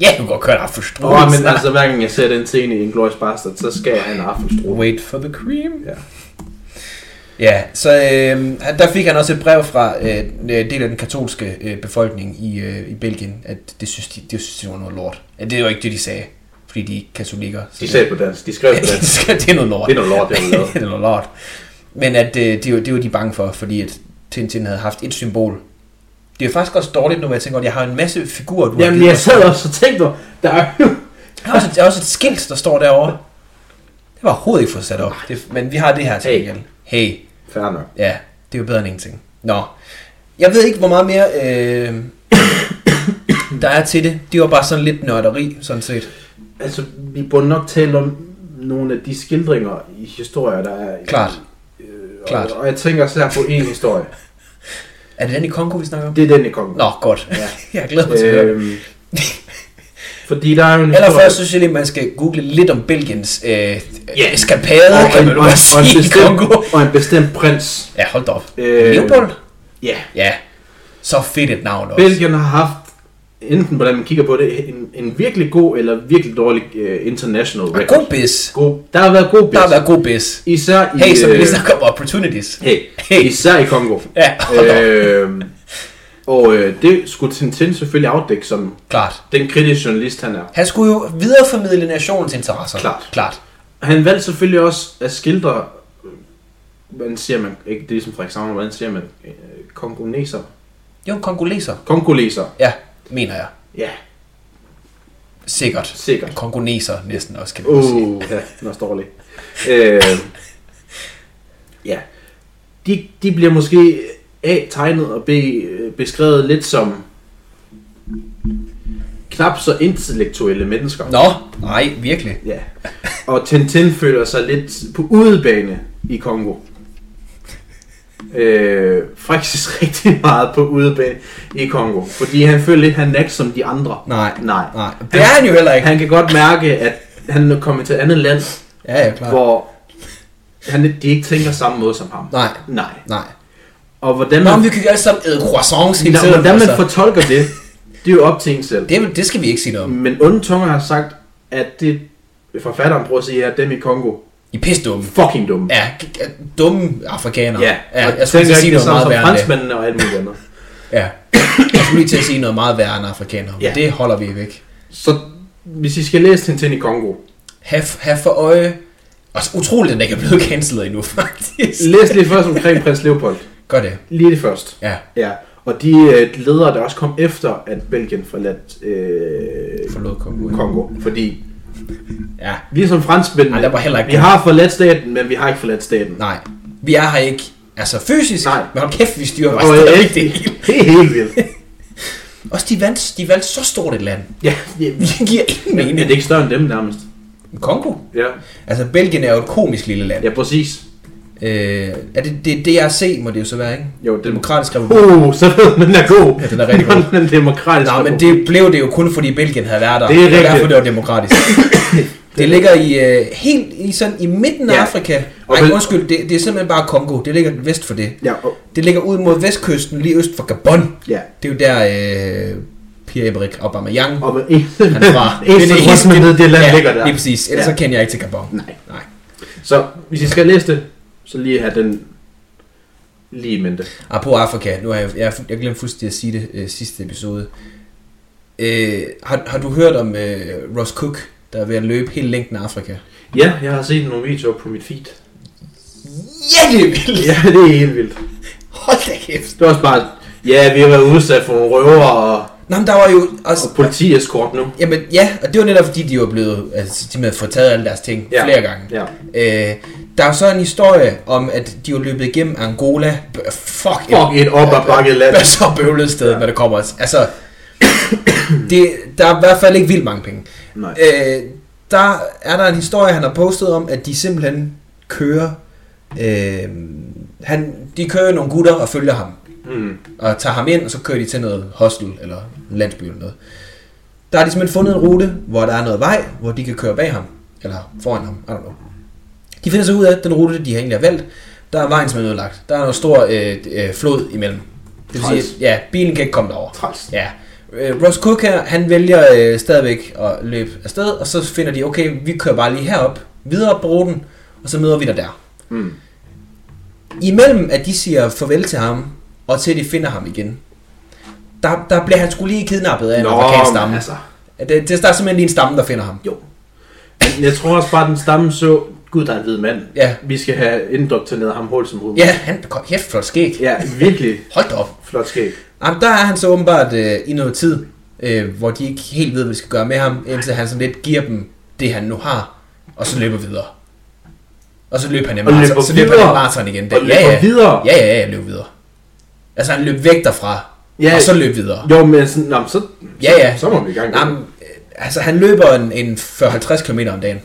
A: Ja, du kan godt køre en apfelstrudel.
B: Åh, men altså, hver gang jeg ser den scene i Inglourious Bastard, så skal jeg have en apfelstrål.
A: Wait for the cream.
B: Ja.
A: Ja, så øh, han- der fik han også et brev fra øh, en del af den katolske øh, befolkning i, øh, i Belgien, at det synes, de, det synes de var noget lort. Ja, det var ikke det, de sagde. fordi de er ikke katolikker. Så
B: De
A: det-
B: sagde på dansk, de skrev på
A: det,
B: dansk.
A: skal- det er noget lort.
B: Det er noget lort, det har vi lavet.
A: det er noget lort. Men at, øh, det, var, det var de bange for, fordi at Tintin havde haft et symbol. Det er faktisk også dårligt nu, hvor jeg tænker, at jeg har en masse figurer, du har
B: Jamen,
A: givet
B: jeg
A: mig.
B: sad også og tænkte, der er jo...
A: Der er også, et- der er også et skilt, der står derovre. Det var overhovedet ikke fået sat op. Det, men vi har det her til
B: Hey.
A: gengæld. Hey.
B: Fair nok.
A: Ja, det er jo bedre end ingenting. Nå. Jeg ved ikke, hvor meget mere øh, der er til det. Det var bare sådan lidt nørderi, sådan set.
B: Altså, vi burde nok tale om nogle af de skildringer i historier, der er...
A: Klart.
B: Øh,
A: Klart.
B: Og, og jeg tænker særligt på en historie.
A: Er det den i Kongo, vi snakker om?
B: Det er den, jeg kom
A: Nå, godt.
B: Ja.
A: Jeg glæder mig til at høre.
B: Øhm, fordi der er jo en
A: Allerførst synes jeg lige, man skal google lidt om Belgiens øh, yeah. eskapade,
B: og,
A: kan
B: en,
A: man jo
B: og,
A: bare
B: en, og, en
A: sige, i
B: bestemt,
A: Kongo.
B: og en bestemt prins.
A: Ja, hold da op.
B: Øh,
A: Leopold?
B: Ja.
A: Ja. Så fedt et navn også.
B: Belgien har haft, enten hvordan man kigger på det, en, en virkelig god eller virkelig dårlig uh, international
A: Og
B: record.
A: god biz.
B: God. Der har været god
A: Der har
B: bid.
A: været god biz.
B: Især i...
A: Hey, så vi
B: øh,
A: lige snakker om opportunities.
B: hey,
A: Hey.
B: Især i Kongo.
A: Ja,
B: øh, og øh, det skulle Tintin selvfølgelig afdække som
A: klart.
B: den kritiske journalist, han er.
A: Han skulle jo videreformidle nationens interesser.
B: Klart.
A: Klart.
B: Han valgte selvfølgelig også at skildre, øh, hvordan siger man, ikke det er som Frederikshavn, hvordan siger man, øh, kongoneser,
A: Jo, kongoleser.
B: kongoleser,
A: Ja, mener jeg.
B: ja,
A: Sikkert.
B: sikkert.
A: Kongoneser næsten også, kan man uh. sige.
B: Uh, ja, den er også dårlig. øh, ja. De, de bliver måske A. tegnet og B. øh, beskrevet lidt som knap så intellektuelle mennesker.
A: Nå, nej, virkelig.
B: Ja. Og Tintin føler sig lidt på udebane i Kongo. Øh, faktisk rigtig meget på udebane i Kongo. Fordi han føler lidt, han er ikke som de andre.
A: Nej.
B: Nej.
A: Nej, det er han jo heller ikke.
B: Han kan godt mærke, at han er kommet til et andet land,
A: Ja, ja, klart.
B: hvor han, de ikke tænker samme måde som ham.
A: Nej,
B: Nej.
A: nej.
B: Og hvordan
A: Nå,
B: man,
A: men vi kan jo alle sammen æde croissants hele
B: Nå,
A: tiden.
B: hvordan man
A: altså.
B: fortolker det, det er jo op til en selv.
A: det, er vel- det skal vi ikke sige noget om.
B: Men onde tunger har sagt, at det forfatteren prøver at sige, er, at dem i Kongo
A: I er pisse dumme.
B: fucking dumme.
A: Ja, g- ja, dumme afrikanere.
B: Ja,
A: ja
B: og
A: jeg skulle
B: tænker
A: til at sige
B: ikke det
A: noget
B: samme
A: meget
B: som
A: værre end det.
B: franskmændene og alt muligt andet.
A: Ja. Jeg skulle lige til at sige noget meget værre end afrikanere, men
B: Ja.
A: det holder vi væk.
B: Så hvis I skal læse Tintin i Kongo,
A: Have, have for øje. Og så utroligt, at den ikke er blevet cancelet endnu, faktisk.
B: læs lige først omkring prins Leopold.
A: Gør det.
B: Lige det først.
A: Ja,
B: Ja. Og de øh, ledere, der også kom efter, at Belgien forladt øh,
A: forlod Kongo.
B: Kongo. Fordi
A: Ja,
B: ligesom franskmændene,
A: Ej, der var heller ikke-
B: vi har forladt staten, men vi har ikke forladt staten.
A: nej. Vi er her ikke, altså fysisk,
B: Nej.
A: men hold kæft, vi styrer
B: Og
A: bare stadig
B: det,
A: det hele.
B: det er helt vildt.
A: Også de vandt, de valgte så stort et land.
B: ja, ja,
A: Det giver ingen
B: men er
A: mening.
B: det ikke større end dem nærmest?
A: Kongo?
B: Ja,
A: Altså, Belgien er jo et komisk lille land.
B: ja præcis.
A: Øh, er det, det, DRC må det jo så være, ikke?
B: Jo, det-
A: Demokratisk republik.
B: Uh, så ved man, den er god.
A: Ja, den er rigtig god.
B: Den er demokratisk.
A: Nej, men det blev det jo kun, fordi Belgien havde været der.
B: Det er
A: og derfor
B: rigtigt.
A: det var demokratisk. det ligger i, øh, helt i, sådan, i midten af
B: Ja.
A: Afrika.
B: Og
A: Nej,
B: vel-
A: undskyld, det, det er simpelthen bare Kongo. Det ligger vest for det.
B: Ja, og,
A: Det ligger ud mod vestkysten, lige øst for Gabon.
B: ja.
A: Det er jo der, øh, Pierre-Emerick Aubameyang
B: Og med en,
A: han er fra.
B: en, en, en, en, det land
A: ja,
B: ligger der.
A: lige præcis. Ellers
B: Ja.
A: ja. så kender jeg ikke til Gabon.
B: Nej.
A: Nej.
B: Så hvis I skal læse det, så lige have den lige i mente.
A: Apropos Afrika, nu har jeg, jeg, jeg glemte fuldstændig at sige det øh, sidste episode. Øh, har, har du hørt om øh, Ross Cook, der er ved at løbe hele længden af Afrika?
B: Ja, jeg har set nogle videoer på mit feed.
A: Ja, det er vildt!
B: Ja, det er helt vildt.
A: Hold da kæft!
B: Det er også bare, ja, vi har været udsat for nogle røver og,
A: Nå, men der var jo
B: og
A: også...
B: politieskort nu.
A: Jamen, ja, og det var netop fordi, de var blevet... Altså, de havde fået taget alle deres ting
B: Ja.
A: ja. flere gange.
B: Ja.
A: Øh, der er jo så en historie om, at de var løbet igennem Angola. B- fuck,
B: Fuck et op ad bakket land.
A: Hvad så bøvlet sted, ja. når det kommer. Altså, det, der er i hvert fald ikke vildt mange penge.
B: Nej.
A: Øh, der er der en historie, han har postet om, at de simpelthen kører... Øh, han, de kører nogle gutter og følger ham.
B: Mm.
A: Og tager ham ind, og så kører de til noget hostel eller en landsby eller noget. Der har de simpelthen fundet en rute, hvor der er noget vej, hvor de kan køre bag ham. Eller foran ham, I don't know. De finder så ud af, at den rute, de egentlig har valgt, der er vejen simpelthen ødelagt. Der er noget stor øh, øh, flod imellem. Det vil
B: Træls.
A: sige, at ja, bilen kan ikke komme derover.
B: Træls.
A: Ja. Øh, Ross Cook her, han vælger øh, stadigvæk at løbe afsted, og så finder de, okay, vi kører bare lige herop, videre op på ruten, og så møder vi dig der.
B: Mm.
A: Imellem at de siger farvel til ham, og til at de finder ham igen, der, der bliver han skulle lige kidnappet af en
B: Nå,
A: afrikansk
B: men
A: stamme.
B: altså.
A: Det, det, der er simpelthen lige en stamme, der finder ham.
B: Jo. jeg tror også bare, den stamme så, gud, der er en hvid mand.
A: Ja.
B: Vi skal have indoktrineret ham hurtigt som muligt.
A: Ja, han kom kæft flot skæg.
B: ja, virkelig
A: Hold da op.
B: flot skæg.
A: Jamen, der er han så åbenbart øh, i noget tid, øh, hvor de ikke helt ved, hvad de skal gøre med ham, indtil han sådan lidt giver dem det, han nu har, og så løber videre. Og så løb han en
B: Og løber
A: maraton, så løber han
B: videre.
A: en maraton igen.
B: Og løber videre.
A: Ja, ja, ja, løb videre. Altså, han løb væk derfra,
B: Ja.
A: ja. og så løb videre.
B: Jo, men sådan, nå, men så,
A: Ja, ja.
B: så, så må vi i gang.
A: Jamen, øh, altså, han løber en, en 40-50 km om dagen.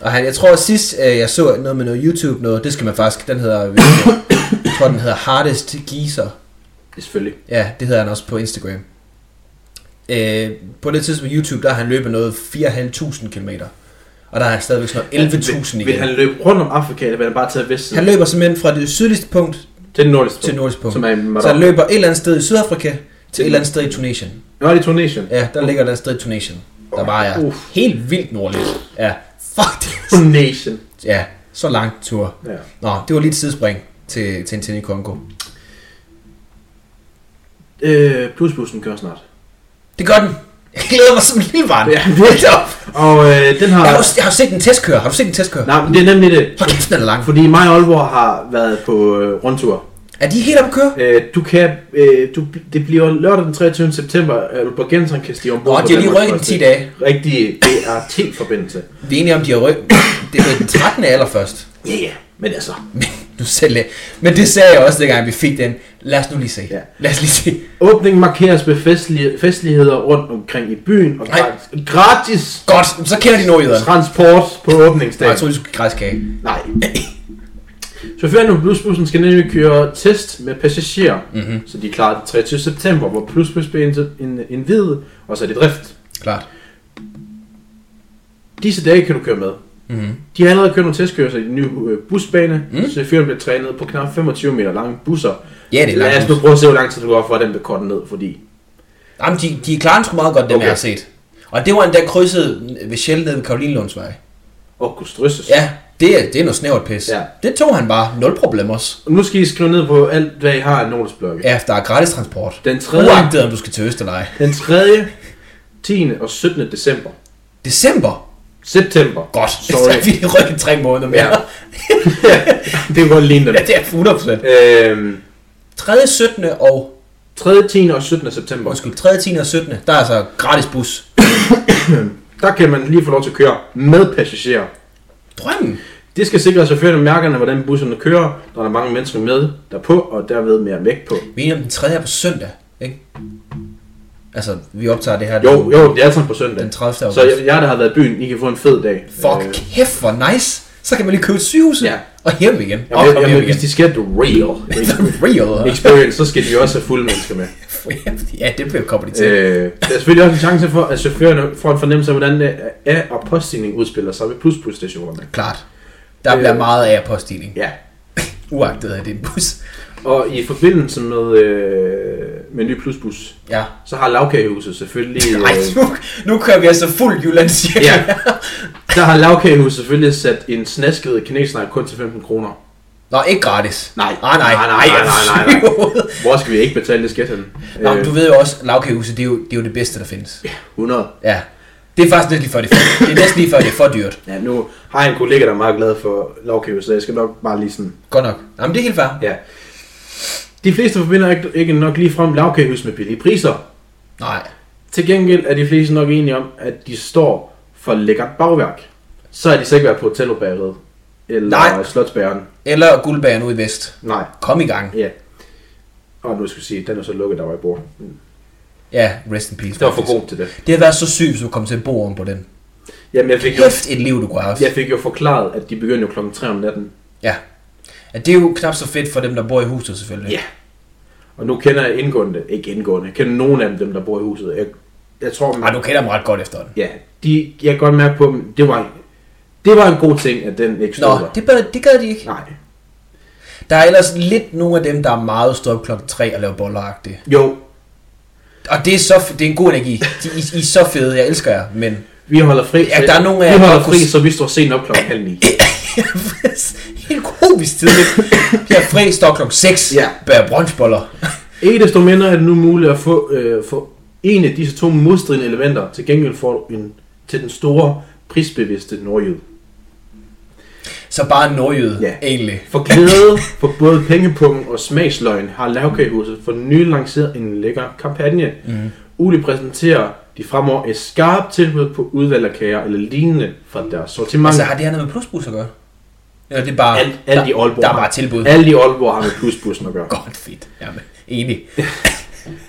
A: Og han, jeg tror sidst, øh, jeg så noget med noget YouTube, noget, det skal man faktisk, den hedder, jeg tror, den hedder Hardest Geezer.
B: Ja, Selvfølgelig.
A: Ja, det hedder han også på Instagram. Øh, på det tidspunkt på YouTube, der har han løbet noget 4.500 km. Og der er han stadigvæk sådan noget 11.000
B: Vil, vil
A: igen.
B: han
A: Han...
B: løbe rundt om Afrika, eller vil han bare tage vestsiden?
A: han løber simpelthen fra det sydligste punkt
B: Til den nordligste.
A: til nordisk punkt.
B: Som er i Marokko.
A: Så han løber et eller andet sted i Sydafrika til et eller andet sted i Tunesien.
B: Nå, det er Tunesien.
A: Ja, der ligger et eller andet sted i Tunesien. Der bare er
B: Uff.
A: helt vildt nordligt. Ja, fuck det.
B: Tunesien.
A: Ja, så lang tur.
B: Ja.
A: Nå, det var lige et sidespring til Tintin i Kongo.
B: Øh, plusbussen kører snart.
A: Det gør den. Jeg glæder mig som en lille barn.
B: Ja,
A: Hold da op.
B: Og øh, den har...
A: Jeg har, jo- jeg har jo set den testkøre. Har du set den testkøre?
B: Nej, men det er nemlig det.
A: Hold kæft, den er lang.
B: Fordi mig og Aalborg har været på øh, rundtur.
A: Er de helt oppe at køre?
B: Øh, du kan, øh, du, det bliver lørdag den 23. september, øh, Aalborg Gensen kan stige ombord.
A: Nå,
B: på
A: de har lige
B: Danmarks
A: rykket den
B: første
A: 10 dage.
B: Rigtig BRT-forbindelse.
A: Vi er enige om, de har rykket. Det er den 13. allerførst.
B: Ja, yeah, ja, men altså.
A: Men, du selv, men det sagde jeg også, dengang vi fik den. Lad os nu lige se.
B: Ja.
A: Lad os lige se.
B: Åbningen markeres med festlige, festligheder rundt omkring i byen, og
A: Nej.
B: gratis, gratis
A: Godt, så kender de nordjyderne.
B: transport på
A: Nå,
B: åbningsdagen.
A: jeg troede, de skulle græskage.
B: Nej. Chaufføren på plusbussen skal nemlig køre test med passagerer,
A: Mhm.
B: mm-hmm. så de er klar den 23. september, hvor plusbus bliver ind- ind- indvidet og sat i drift.
A: Klart.
B: Disse dage kan du køre med.
A: Mhm.
B: De har allerede kørt nogle testkørsler i den nye øh, busbane, mm. så fyren bliver trænet på knap 25 meter lange busser.
A: Ja, det er
B: Lad os
A: langt.
B: nu prøve at se, hvor lang tid det går for, at den bliver kortet ned, fordi...
A: Jamen, de, de klarer sgu meget godt, dem
B: Okay.
A: okay. jeg har set. Og det var endda krydset ved Shell nede ved Karolinlundsvej.
B: Åh, kunne strysses.
A: Ja, det er, det er noget snævert pis.
B: Ja.
A: Det tog han bare. Nul problemer.
B: Og Nu skal I skrive ned på alt, hvad I har af notesblokke.
A: Ja, der er gratis transport.
B: Den 3.
A: Uagtet om du skal til Øst eller ej.
B: Den 3. 10. og 17. december.
A: December.
B: September.
A: Godt.
B: Sorry.
A: Så vi lige rykket tre måneder mere.
B: Ja. det kan godt ligne dem.
A: ja det er 100%.
B: Øhm,
A: 3. 17. og
B: 3. 10. og 17. september.
A: undskyld, 3. 10. og 17. Der er altså gratis bus.
B: Der kan man lige få lov til at køre med passagerer.
A: Drømmen.
B: Det skal sikre at chaufførerne mærkerne, hvordan busserne kører, når der er mange mennesker med derpå, og derved mere vægt på.
A: Vi er enige om den 3. er på søndag, ikke? Altså, vi optager det her.
B: Jo,
A: den-
B: jo, det er sådan på søndag.
A: Den 30. august.
B: Så jeg, jeg, der har været i byen, I kan få en fed dag.
A: Fuck,
B: Øh,
A: kæft hvor nice. Så kan man lige købe et sygehus
B: Ja.
A: og hjem igen. Og
B: Jamen,
A: komme
B: jamen,
A: hjem
B: hvis
A: igen.
B: de skal the real
A: Real.
B: experience, så skal de også have fulde mennesker med.
A: ja, det bliver kommer de til.
B: Øh, der er selvfølgelig også en chance for, at chaufførerne får en fornemmelse af, hvordan øh, af- og poststigning udspiller sig ved plusplusstationerne.
A: Klart. Der bliver meget af påstigning.
B: Øh. Ja,
A: Uagtet at det er en bus.
B: og i forbindelse med, øh, med en ny plusbus,
A: Ja.
B: så har lavkagehuset selvfølgelig... Øh,
A: Ej, nu, nu kører vi altså fuld Jylland cirka.
B: Ja. der har lavkagehuset selvfølgelig sat en snasket kinesner kun til 15 kroner.
A: Nå, ikke gratis.
B: Nej.
A: Ah, nej.
B: Nej, nej, nej, nej, nej.
A: nej.
B: Hvor skal vi ikke betale det skat henne?
A: Nå, men
B: Øh,
A: du ved jo også, lavkagehuset, det er jo det, er jo det bedste, der findes.
B: 100.
A: Ja. Det er faktisk næsten lige før, det er for, det er næsten lige før, det er for dyrt.
B: Ja, nu har jeg en kollega, der er meget glad for lavkagehuset, så jeg skal nok bare lige sådan...
A: Godt nok. Jamen, det er helt fair.
B: Ja. De fleste forbinder ikke, ikke nok lige frem lavkagehus med billige priser.
A: Nej.
B: Til gengæld er de fleste nok enige om, at de står for lækkert bagværk. Så er de sikkert været på Hotellobageriet. Eller
A: Nej.
B: Slotsbæren.
A: Eller guldbæren ude i vest.
B: Nej.
A: Kom i gang.
B: Ja. Og nu skal jeg sige, den er så lukket, der var i bord.
A: Ja, rest in peace.
B: Det var for
A: faktisk.
B: god til det.
A: Det har været så sygt, hvis du kom til at bo oven på den.
B: Jamen, jeg fik jo,
A: Kæft et liv, du kunne have haft.
B: jeg fik jo forklaret, at de begyndte jo klokken 3 om natten.
A: Ja. ja. det er jo knap så fedt for dem, der bor i huset selvfølgelig.
B: Og nu kender jeg indgående, ikke indgående, jeg kender nogen af dem, der bor i huset. Jeg, jeg tror,
A: Ej, du kender dem ret godt efterhånden.
B: ja, de, jeg kan godt mærke på dem, det var, det var en god ting, at den ikke stod
A: Nå,
B: der.
A: det, bør, det gad de ikke.
B: Nej.
A: Der er ellers lidt nogle af dem, der er meget stå op klokken 3 og laver bolleragtigt.
B: Jo,
A: Og det er, så, f- det er en god energi. De, I, I, er så fede, jeg elsker jer, men...
B: vi holder fri,
A: Ja, der er nogle af jer,
B: vi
A: der
B: holder
A: kunne
B: fri,
A: s-
B: så vi står sent op klokken halv ni.
A: Helt komisk tidligt. Jeg er fri, står klokken 6,
B: Ja.
A: bærer brunchboller.
B: Ikke desto mindre er det nu muligt at få, øh, få en af disse to modstridende elementer. Til gengæld får du en til den store, prisbevidste nordjyd.
A: Så bare en nordjyde,
B: Ja.
A: egentlig.
B: For glæde for både pengepungen og smagsløgn har Lavkagehuset for nylig lanceret en lækker kampagne. Mm. Uli præsenterer de fremover et skarpt tilbud på udvalg af kager eller lignende fra deres sortiment.
A: Altså,
B: Altså,
A: har det her noget med plusbus at gøre? Eller det er bare...
B: alt, alt i
A: der,
B: Aalborg
A: der er
B: har-
A: bare tilbud.
B: Alt i Aalborg har med plusbussen at gøre.
A: Godt fedt. Jamen, enig.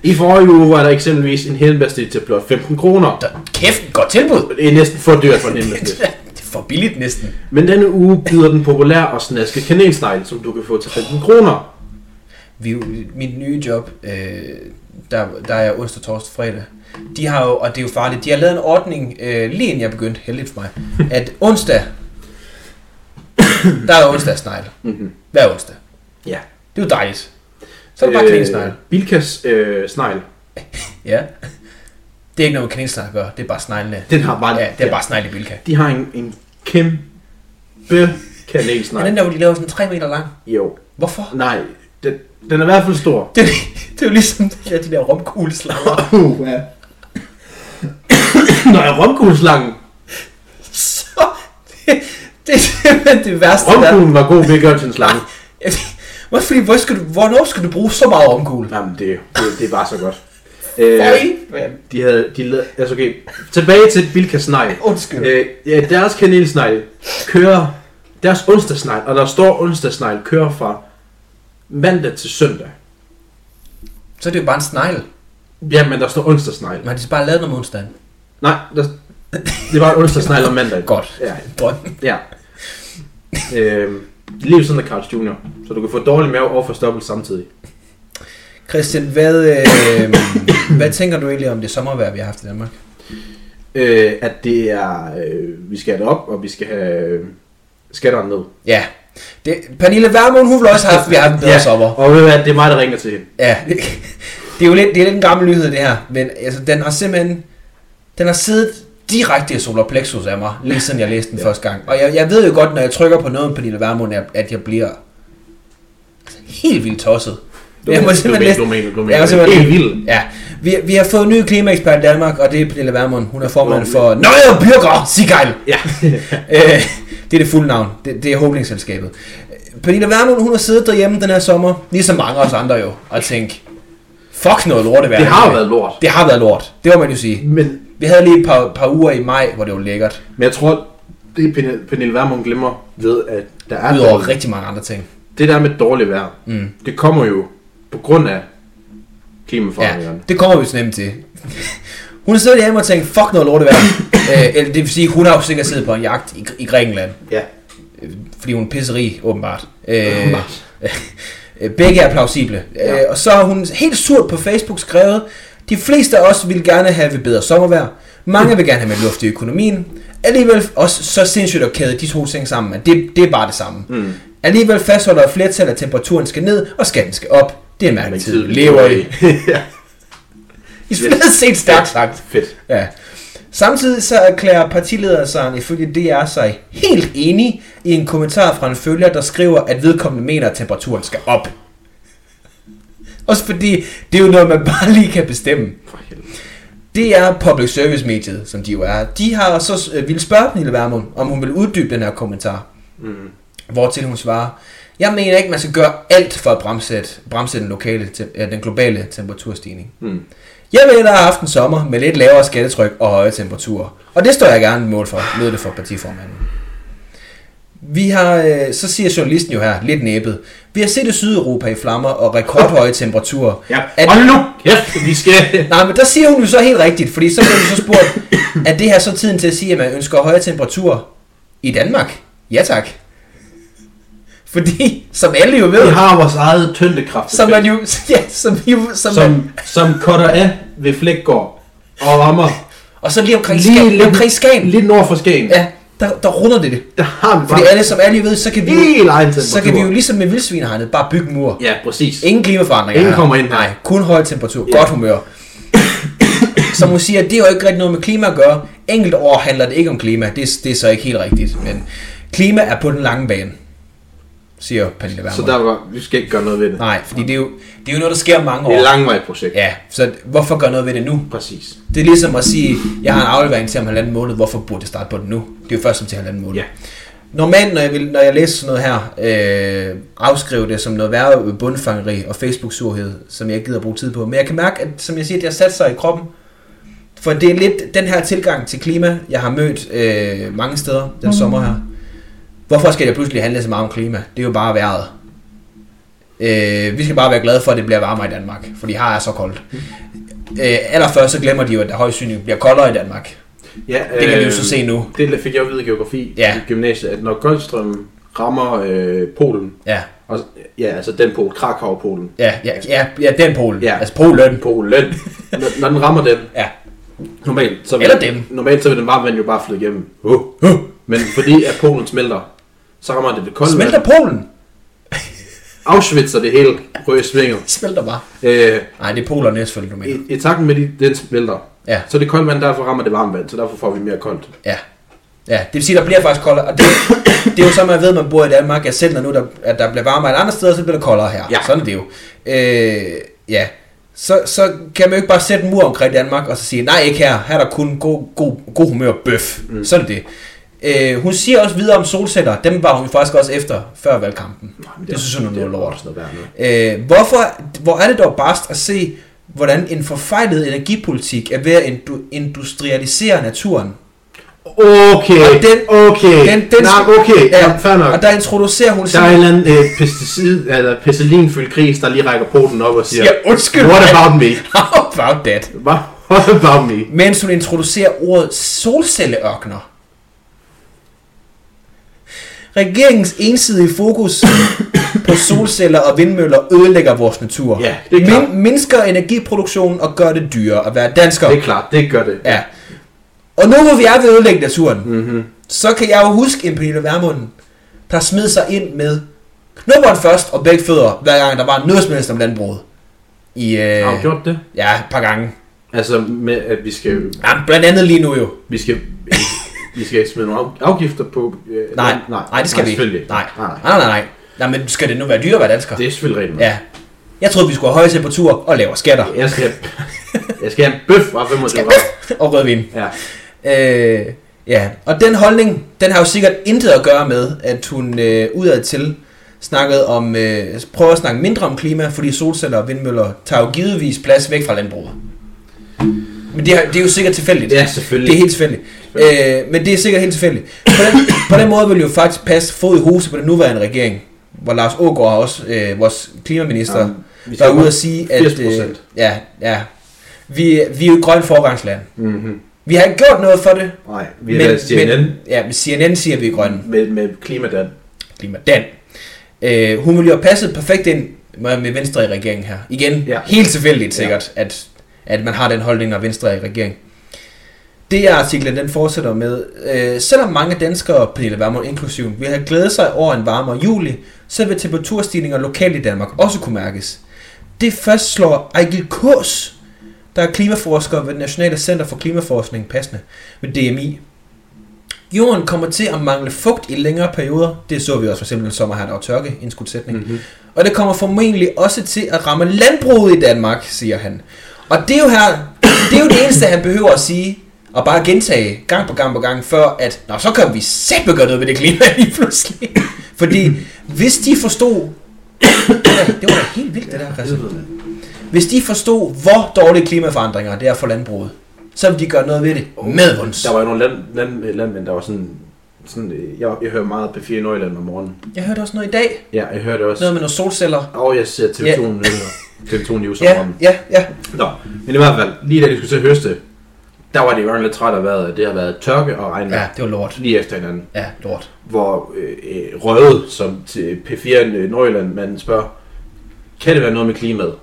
B: I forrige uge var der eksempelvis en helbastil til blot 15 kroner.
A: Der, kæft, godt tilbud.
B: Det er næsten for dyrt for en helbastil.
A: det er for billigt næsten.
B: Men denne uge byder den populære og snaske kanelsnegl, som du kan få til 15 kroner.
A: vi, mit nye job, øh, der, der er jeg onsdag, torsdag, fredag, de har jo, og det er jo farligt, de har lavet en ordning, øh, lige inden jeg begyndte, heldigt for mig, at onsdag, der er onsdagsnegle.
B: Mhm.
A: Hver onsdag.
B: Ja.
A: Det er jo dejligt. Så er det bare kaninsnegle.
B: Øh, Bilkas øh, snegl.
A: Ja. Det er ikke noget med kaninsnegle at gøre, det er bare sneglene.
B: Den har bare...
A: Ja, det er bare snegle i bilka.
B: De har en, en kæmpe
A: Men
B: kanelsnegl.
A: den der, hvor de laver sådan 3 meter lang.
B: Jo.
A: Hvorfor?
B: Nej, den, den er i hvert fald stor.
A: Det, er jo- det er jo ligesom de der, de der romkugleslanger.
B: Uh, ja. Når jeg romkugleslangen.
A: Så, det, det er simpelthen det værste, der
B: Romkuglen var god ved at gøre til en slange.
A: Hvad fordi, hvor skal du, hvornår skal du bruge så meget omgul?
B: Jamen, det, det, det var så godt. Øh,
A: Øh.
B: de havde... De lavede, altså, okay. Tilbage til Bilkas snegl.
A: Undskyld.
B: Øh, ja, deres kanelsnegl kører, deres onsdagsnegl, og der står onsdagsnegl, kører fra mandag til søndag.
A: Så er det jo bare en snegl.
B: Ja, men der står onsdagsnegl.
A: Man har de så bare lavet noget om onsdagen.
B: Nej, der, det var en onsdagsnegl om mandag.
A: Godt.
B: Ja,
A: Drøm.
B: ja. Øh, lige ved siden af Carl's Jr., så du kan få dårlig mave og forstoppelse samtidig.
A: Christian, hvad, øh, hvad tænker du egentlig om det sommervejr, vi har haft i Danmark?
B: Øh, at det er, øh, vi skal have det op, og vi skal have øh, skatterne ned.
A: Ja. Det, Pernille Vermund, hun vil også have haft, vi har haft en bedre ja. sommer.
B: og ved du hvad, det er mig, der ringer til hende.
A: Ja. Det er jo lidt, det er lidt en gammel nyhed, det her. Men altså, den har simpelthen... Den har siddet direkte i solar plexus af mig, lige siden jeg læste den ja. første gang. Og jeg, jeg ved jo godt, når jeg trykker på noget med Pernille Vermund, at, at jeg bliver altså, helt vildt tosset. Jeg må simpelthen læse-
B: du mener, du
A: Jeg
B: mener,
A: var
B: du mener.
A: simpelthen
B: Helt vildt.
A: Ja, vi, vi har fået en ny klimaekspert i Danmark, og det er Pernille Vermund. Hun er formand for Nøje Byrger Sigejl.
B: Ja.
A: Øh, det er det fulde navn. Det, det er holdingselskabet. Øh, Pernille Vermund, hun har siddet derhjemme den her sommer, ligesom mange af os andre jo, og tænkt, fuck noget lort
B: det har jo været lort.
A: Det har været lort. Det må man jo sige.
B: Men
A: Vi havde lige et par, par uger i maj, hvor det var lækkert.
B: Men jeg tror, det Pernille- Pernille Vermund glemmer ved, at der er
A: Udover rigtig mange andre ting.
B: det der med dårligt vejr, mm. det kommer jo på grund af
A: Ja,
B: klimaforandringerne.
A: det kommer vi så nemt til. Hun har siddet derhjemme og tænkt, fuck noget lort det øh, eller det vil sige, hun har jo sikkert siddet på en jagt i, i Grækenland.
B: Ja. ja.
A: Øh, fordi hun er pisserig, åbenbart. Øh, øh, begge er plausible. Ja. Øh, og så har hun helt surt på Facebook skrevet, de fleste af os vil gerne have et bedre sommervejr. Mange vil gerne have med luft i økonomien. Alligevel også så sindssygt at kæde de to ting sammen, at det, det er bare det samme. Mm. Alligevel fastholder et flertal, at temperaturen skal ned, og skatten skal op. Det er en mærkelig tid, vi lever i.
B: ja.
A: Isoleret set stærkt sagt.
B: Fedt.
A: Ja. Samtidig så erklærer partilederen ifølge DR sig helt enig i en kommentar fra en følger, der skriver, at vedkommende mener, at temperaturen skal op. Også fordi det er jo noget, man bare lige kan bestemme.
B: For helvede.
A: Det er public service mediet, som de jo er. De har så øh, ville spørge Pernille Vermund, om hun vil uddybe den her kommentar.
B: Mm-hmm.
A: Mm. Hvortil hun svarer, jeg mener ikke, man skal gøre alt for at bremse, bremse den, lokale, te- øh, den globale temperaturstigning.
B: Mm.
A: Jeg vil hellere have haft en sommer med lidt lavere skattetryk og høje temperaturer. Og det står jeg gerne mål for, lød det for partiformanden. Vi har, øh, så siger journalisten jo her, lidt næbet. Vi har set i Sydeuropa i flammer og rekordhøje temperaturer.
B: Ja.
A: Er-
B: Hold nu kæft, vi skal...
A: Nej, men der siger hun jo så helt rigtigt, fordi så bliver vi så spurgt, er det her så tiden til at sige, at man ønsker høje temperaturer i Danmark? Ja tak. Fordi, som alle jo
B: Vi
A: ved,
B: har vores eget tyndekraft.
A: som man jo, ja, som jo, som,
B: som,
A: som man,
B: som cutter af ved Flækgård og rammer
A: og så lige omkring,
B: Lige
A: lige, lige
B: lidt-
A: omkring Skagen,
B: lidt nord for Skagen.
A: ja, der, der runder det det.
B: Der har vi
A: Fordi
B: bare
A: alle, som alle jo ved, så kan vi jo,
B: helt egen temperatur.
A: så kan vi jo ligesom med vildsvinehegnet bare bygge en mur.
B: Ja, præcis.
A: Ingen klimaforandringer.
B: Ingen
A: her.
B: kommer ind.
A: Nej, kun høj temperatur, godt humør. Som hun siger, det er jo ikke rigtig noget med klima at gøre. Enkelt år handler det ikke om klima. Det, er- det er så ikke helt rigtigt. Men klima er på den lange bane. siger Pernille Vermund.
B: Så der var, vi skal ikke gøre noget ved det.
A: Nej, fordi det er, jo, det er jo noget, der sker mange
B: Det er et
A: år.
B: langvejt projekt.
A: Ja, så hvorfor gøre noget ved det nu?
B: Præcis.
A: Det er ligesom at sige, jeg har en aflevering til om halvanden måned, hvorfor burde jeg starte på det nu? Det er jo først som til halvanden måned.
B: Ja.
A: Normalt, når jeg, vil, når jeg læser sådan noget her, øh, afskrive det som noget værre bundfangeri og Facebook-surhed, som jeg ikke gider at bruge tid på. Men jeg kan mærke, at som jeg siger, at jeg sat sig i kroppen. For det er lidt den her tilgang til klima, jeg har mødt øh, mange steder den sommer her. Hvorfor skal jeg pludselig handle så meget om klima? Det er jo bare vejret. Øh, vi skal bare være glade for, at det bliver varmere i Danmark, fordi her er så koldt. Øh, allerførst så glemmer de jo, at der højst synligt bliver koldere i Danmark.
B: ja øh,
A: Det kan vi jo så se nu.
B: Det fik jeg jo at vide i geografi
A: Ja.
B: i gymnasiet, at når Goldstrøm rammer øh, Polen,
A: Ja,
B: og, ja, altså den pol, Krakow-Polen,
A: ja, ja, ja, ja den Polen. Ja.
B: Ja.
A: Altså Polen.
B: Polen, når, når den rammer den,
A: Ja.
B: normalt, så vil,
A: Eller dem.
B: normalt så vil den varme vand jo bare flyde igennem. Uh.
A: Huh.
B: Men fordi at Polen smelter, så rammer det det kolde
A: Smelter
B: vand,
A: Polen?
B: afsvitser det hele, ryger i svinget.
A: Smelter bare.
B: Øh,
A: Nej, det er polerne selvfølgelig, du mener.
B: i, I takten med, de, den smelter,
A: Ja.
B: så det kolde vand, derfor rammer det varme vand, så derfor får vi mere koldt.
A: Ja. Ja, det vil sige, der bliver faktisk koldere. Og det, det er jo så, man ved, at man bor i Danmark, at selv når nu der, at der bliver varmere et andet sted, så bliver det koldere her.
B: Ja.
A: Sådan er det jo. Øh, ja. Så, så kan man jo ikke bare sætte en mur omkring Danmark og så sige, nej ikke her, her er der kun god, god, god humør og bøf. Mm. Sådan er det. Øh, hun siger også videre om solceller, dem var hun faktisk også efter, før valgkampen. Nej, det, det synes hun er noget lort.
B: Sådan noget værd noget.
A: Øh, hvorfor, hvor er det dog barst at se, hvordan en forfejlet energipolitik er ved at indu- industrialisere naturen?
B: Okay,
A: Og den-
B: okay, Nej, okay, ja, fair nok.
A: og der introducerer hun
B: Der er en
A: sådan,
B: eller anden øh, pesticid, eller penicillinfyldt gris, der lige rækker poten op og siger,
A: Ja, undskyld.
B: What about me?
A: how about that?
B: Hva? What about me?
A: Mens hun introducerer ordet solcelleørkner. Regeringens ensidige fokus på solceller og vindmøller ødelægger vores natur.
B: Ja, det er klart.
A: mindsker energiproduktionen og gør det dyrere at være dansker.
B: Det er klart, det gør det.
A: Ja. Og nu hvor vi er ved at ødelægge naturen, mm-hmm. så kan jeg jo huske en Pernille Vermund, der smed sig ind med knopperen først og begge fødder, hver gang der var noget som helst om landbruget. I, øh,
B: Har hun gjort det?
A: ja, et par gange.
B: Altså med, at vi skal,
A: Ja, blandt andet lige nu jo.
B: vi skal, vi skal smide nogle af- afgifter på... Øh,
A: Nej, nej,
B: nej,
A: nej det skal
B: nej,
A: vi
B: selvfølgelig.
A: ikke. Nej.
B: nej,
A: Nej, nej, nej, nej. Nej, men skal det nu være dyrere at være dansker?
B: Det er selvfølgelig rigtigt.
A: Ja. Jeg troede, vi skulle have høje temperaturer og lavere skatter.
B: Jeg skal, jeg skal have en bøf fra 25 grader.
A: og rødvin.
B: Ja.
A: Øh, ja, og den holdning, den har jo sikkert intet at gøre med, at hun øh, udadtil snakkede om, øh, prøver at snakke mindre om klima, fordi solceller og vindmøller tager jo givetvis plads væk fra landbruget. Men det, er- det er jo sikkert tilfældigt.
B: Ja, selvfølgelig.
A: Det er helt tilfældigt. Øh, men det er sikkert helt tilfældigt. På den, på den måde vil jo faktisk passe fod i huse på den nuværende regering, hvor Lars Ågaard også, øh, vores klimaminister,
B: Jamen,
A: vi
B: vi
A: var
B: skal
A: ude
B: op
A: at sige, at...
B: 80%.
A: Øh, ja, ja. Vi, vi er jo et grønt forgangsland.
B: Mm-hmm.
A: Vi har ikke gjort noget for det,
B: Nej, vi er men, CNN
A: men, ja, men CNN siger, at vi er grønne.
B: med, med klimadan.
A: Klima Dan. Øh, hun ville jo have passet perfekt ind med med Venstre i regeringen her. Igen, ja.
B: Ja.
A: helt tilfældigt sikkert, ja. at, at man har den holdning, når Venstre er i regering. Det her artiklen, den fortsætter med, øh, selvom mange danskere, Pernille Vermund inklusiv, vil have glædet sig over en varmere juli, så vil temperaturstigninger lokalt i Danmark også kunne mærkes. Det fastslår Ejgil Kås, der er klimaforsker ved det Nationale Center for Klimaforskning, passende ved DMI. Jorden kommer til at mangle fugt i længere perioder. Det så vi også for eksempel en sommer her, der var tørke, indskudsætning. Mm-hmm. Og det kommer formentlig også til at ramme landbruget i Danmark, siger han. Og det er jo her, det er jo det eneste, han behøver at sige, og bare gentage gang på gang på gang, før at, nå, så kan vi sæt gøre noget ved det klima lige pludselig. Fordi hvis de forstod, det var da helt vildt det der, Christian. Hvis de forstod, hvor dårlige klimaforandringer det er for landbruget, så ville de gøre noget ved det med vunds.
B: Der var jo nogle land, land, øh, landmænd, der var sådan... sådan øh, jeg, jeg hører meget på 4 Nordjylland om morgenen.
A: Jeg hørte også noget i dag,
B: Ja, jeg hørte også...
A: noget med nogle solceller.
B: Og jeg ser TV2
A: Ja.
B: nyheder. TV2 News om
A: Ja,
B: morgenen.
A: ja, ja.
B: Nå, men i hvert fald, lige da de skulle til at høste, der var det jo lidt træt af vejret. Det har været tørke og regnvejr
A: Ja,
B: ja.
A: det var lort.
B: lige efter hinanden.
A: Ja, lort.
B: Hvor øh, øh, Røde, som til P4 øh, Nordjylland, man spørger, kan det være noget med klimaet?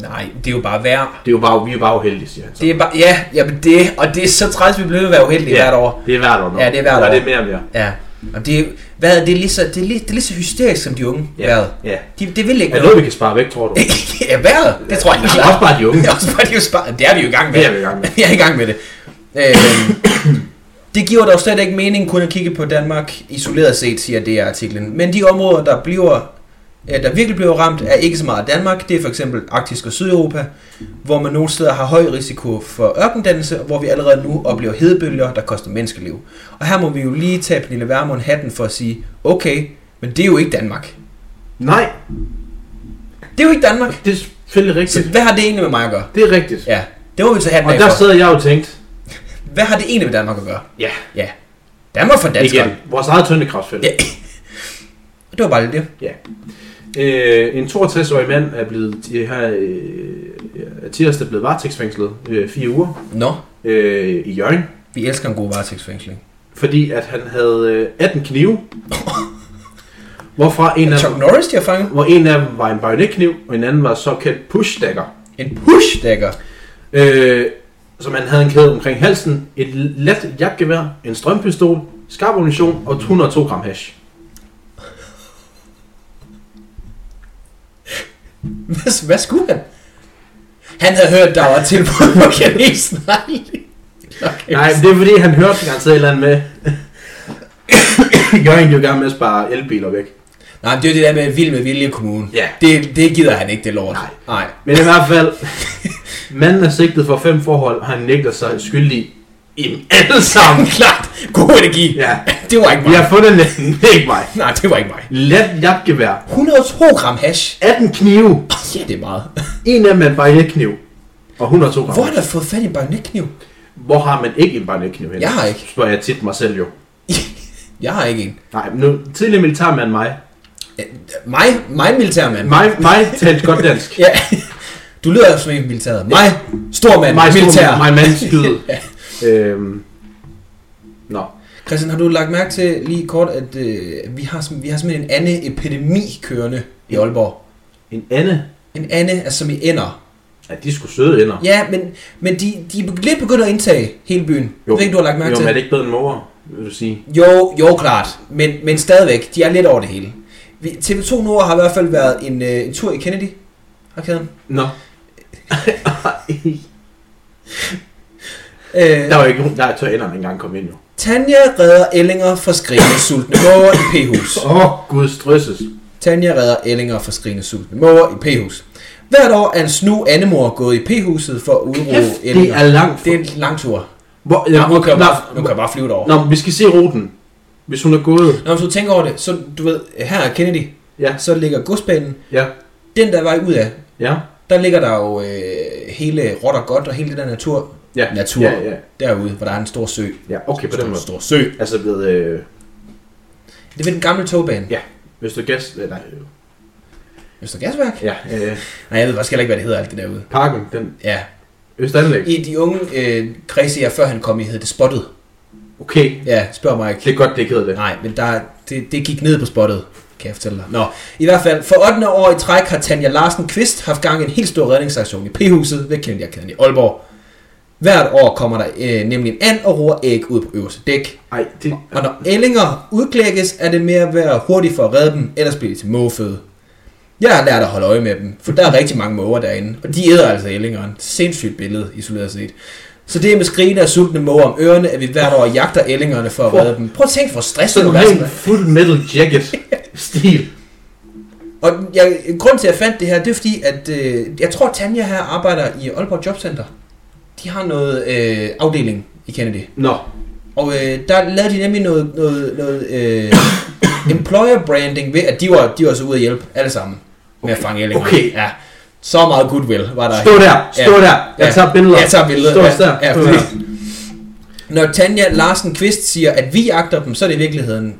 A: Nej, det er jo bare værre.
B: Det er jo bare, vi er jo bare uheldige, siger han så.
A: Det er bare, ja, jamen det, og det er så træls, vi bliver ved med at være uheldige ja. hvert år.
B: Det er hvert år nu.
A: Ja, det er hvert
B: Eller
A: år.
B: det er mere og mere.
A: Ja, og det er, hvad, er det er lige så, det er lige, det er lige så hysterisk som de unge ja. vejret.
B: ja.
A: De, det vil ikke
B: Er det
A: noget.
B: noget, vi kan spare væk, tror du?
A: ja, vejret, det tror jeg ikke
B: Det er også bare de unge.
A: Det er også bare, det er jo spar- det er vi jo i gang med.
B: Det er vi i gang med.
A: vi er i gang med det. Øh, Det giver dog slet ikke mening kun at kigge på Danmark isoleret set, siger DR-artiklen. Men de områder, der bliver øh, der virkelig bliver ramt, er ikke så meget Danmark. Det er for eksempel Arktisk og Sydeuropa, hvor man nogle steder har høj risiko for ørkendannelse, og hvor vi allerede nu oplever hedebølger, der koster menneskeliv. Og her må vi jo lige tage Pernille Vermund hatten for at sige, okay, men det er jo ikke Danmark.
B: Nej,
A: Det er jo ikke Danmark.
B: det er selvfølgelig
A: Så
B: rigtigt.
A: hvad har det egentlig med mig at gøre?
B: Det er rigtigt.
A: Ja, det må vi tage hatten
B: Og
A: af
B: der
A: for.
B: sad jeg jo tænkt,
A: Hvad har det egentlig med Danmark at gøre?
B: ja,
A: Ja, Danmark for danskere.
B: igen, vores eget tyndekraftfelt.
A: Ja. Det var bare lidt det.
B: Ja. Øh, en 62-årig mand er blevet de her øh, er tirsdag blevet varetægtsfængslet øh, fire uger
A: Nå,
B: øh, i Jørgen,
A: vi elsker en god varetægtsfængsling.
B: fordi at han havde øh, 18 knive, hvorfra en af,
A: Chuck Norris, de har fanget.
B: hvor en af dem var en bajonetkniv, og en anden var såkaldt pushdacker,
A: En push-dækker.
B: øh, som han havde en kæde omkring halsen, et let jagtgevær, en strømpistol, skarp ammunition og 102 gram hash.
A: Hvad, hvad skulle han? Han havde hørt, der var tilbud på kanisen. Nej,
B: Nej, men det er fordi, han hørte garanteret et eller andet med. Jørgen er jo gerne med at spare elbiler væk.
A: Nej, men det er jo det der med vild med vilje kommune.
B: Ja.
A: Det, det gider han ikke, det lort.
B: Nej.
A: Nej.
B: Men i hvert fald, manden er sigtet for fem forhold, og han nægter sig skyldig i dem alle sammen.
A: Jamen, klart. God energi.
B: Ja.
A: Det var ikke
B: Vi
A: mig.
B: har fundet næsten ikke mig.
A: Nej, det var ikke mig.
B: Let jagtgevær,
A: 102 gram hash.
B: 18 knive,
A: Oh, ja, det er meget.
B: en af dem er en bajonetkniv, og 102 gram.
A: Hvor har du fået fat i en bajonetkniv?
B: Hvor har man ikke en bajonetkniv henne?
A: Jeg har ikke.
B: Spørger jeg tit mig selv jo.
A: Jeg har ikke en.
B: Nej, men nu, tidligere militærmand mig.
A: Ja, Mig, mig militærmand.
B: Mig, mig talte godt dansk.
A: Ja. Du lyder som en militær. Mig, stor mand,
B: Mig,
A: militær.
B: Mig mand skyde. øhm. Nå.
A: Christian, har du lagt mærke til lige kort, at øh, vi, har, sim- vi har simpelthen en anden epidemi kørende i Aalborg?
B: En Anne.
A: En anden, altså som i ender.
B: Ja, de skulle søde ender.
A: Ja, men, men de, de er lidt begyndt at indtage hele byen. Jo. Det ikke, du har lagt mærke
B: jo,
A: til.
B: men er det ikke bedre end mor, vil du sige?
A: Jo, jo klart, men, men stadigvæk, de er lidt over det hele. Vi, TV2 Nord har i hvert fald været en, øh, en tur i Kennedy. Arkaden.
B: Nå.
A: Øh,
B: Der var ikke nogen, der tør enderne engang komme ind jo.
A: Tanja redder Ellinger fra skrigende sultne måger i P-hus.
B: Åh, oh, gud strøsses.
A: Tanja redder Ellinger fra skrigende sultne måger i P-hus. Hvert år er en snu andemor gået i P-huset for at udrode
B: Kæft, det
A: Ellinger.
B: er langt.
A: Det er en lang tur.
B: Hvor,
A: Ja, nu, kan jeg
B: nå,
A: bare, nu kan jeg bare flyve derover.
B: nå, vi skal se ruten. Hvis hun er gået.
A: Nå, hvis du tænker over det, så du ved, her er Kennedy,
B: Ja,
A: så ligger godsbanen.
B: ja,
A: Den der vej ud af,
B: ja.
A: der ligger der jo øh, hele råt og godt og hele det der natur,
B: Ja,
A: natur
B: ja, ja.
A: derude, hvor der er en stor sø.
B: ja okay, på den
A: En
B: måde.
A: stor sø.
B: Altså ved, øh,
A: Det er ved den gamle togbane.
B: ja, hvis du gæst, øh, nej, øh,
A: Øster Gasværk?
B: ja, øh,
A: Nej, jeg ved faktisk heller ikke, hvad det hedder alt det derude.
B: parken, den
A: Ja.
B: østanlæg.
A: I de unge øh, kredse, jeg før han kom i, hed det spottet.
B: Okay,
A: Ja, spørg mig ikke.
B: det er godt, det ikke hedder det.
A: Nej, men der, det, det gik ned på spottet, kan jeg fortælle dig. Nå, i hvert fald, for 8. år i træk har Tanja Larsen Kvist haft gang i en helt stor redningsaktion i P-huset ved Kennedy-arkaden i Aalborg. Hvert år kommer der øh, nemlig en and og roer æg ud på øverste dæk.
B: Nej, det,
A: Og når ællinger udklækkes, er det mere at være hurtig for at redde dem, ellers bliver de til mågeføde. Jeg har lært at holde øje med dem, for der er rigtig mange måger derinde, og de æder altså ællingeren. Sindssygt billede, isoleret set. Så det er med skrigende og sultne måger om ørerne, at vi hvert år jagter ællingerne for at redde dem. Prøv at tænke, hvor
B: så
A: stresset
B: du
A: du
B: har
A: er.
B: en full metal jacket stil.
A: Og jeg, grunden til, at jeg fandt det her, det er fordi, at øh, jeg tror, Tanja her arbejder i Aalborg Jobcenter. De har noget øh, afdeling i Kennedy.
B: Nå,
A: Og øh, der lavede de nemlig noget, noget, noget øh, employer branding ved, at de var, de var så ude at hjælpe alle sammen med at fange ællinger.
B: Okay.
A: Ja. Så meget goodwill var der.
B: stå der, stå
A: Ja.
B: der, jeg tager billeder.
A: Jeg tager billeder.
B: Stå
A: ja.
B: der,
A: Ja,
B: stå
A: fordi-
B: der.
A: Når Tanja Larsen Kvist siger, at vi jagter dem, så er det i virkeligheden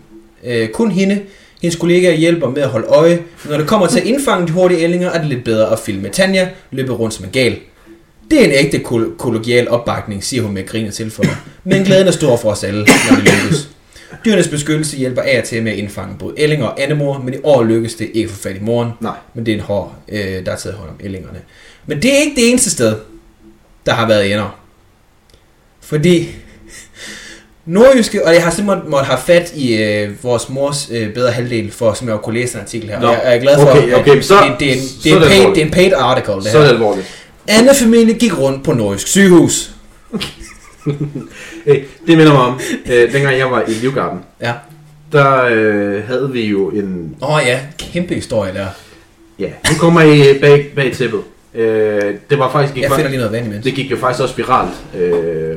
A: øh, kun hende. Hendes kollegaer hjælper med at holde øje. Når det kommer til at indfange de hurtige ællinger, er det lidt bedre at filme Tanja løbe rundt som en gal. Det er en ægte kol- kollegial opbakning, siger hun med grin og tilføjer. Men glæden er stor for os alle, når det lykkes. Dyrenes beskyttelse hjælper af og til med at indfange både ællinger og andemor, men i år lykkes det ikke for fat i moren.
B: Nej.
A: Men det er en hår, øh, der er taget hånd om ællingerne. Men det er ikke det eneste sted, der har været ender. Fordi nordjyske, og jeg har simpelthen måtte have fat i øh, vores mors øh, bedre halvdel, for som jeg jo kunne læse en artikel her.
B: Nå,
A: Og jeg, jeg er glad for,
B: okay, okay, så-
A: det, det, er en, det, er en
B: så er det
A: paid,
B: alvorligt.
A: det er en paid article, det
B: Så er
A: her.
B: det alvorligt.
A: Anne familie gik rundt på Nordisk sygehus.
B: Hey, det minder mig om, øh, dengang jeg var i Livgarden,
A: Ja.
B: der øh, havde vi jo en...
A: Åh oh, ja, kæmpe historie der.
B: Ja, nu kommer I bag, bag tæppet. Øh, det var faktisk... Gik
A: Jeg finder
B: faktisk
A: lige noget vand imens.
B: det gik jo faktisk også viralt øh,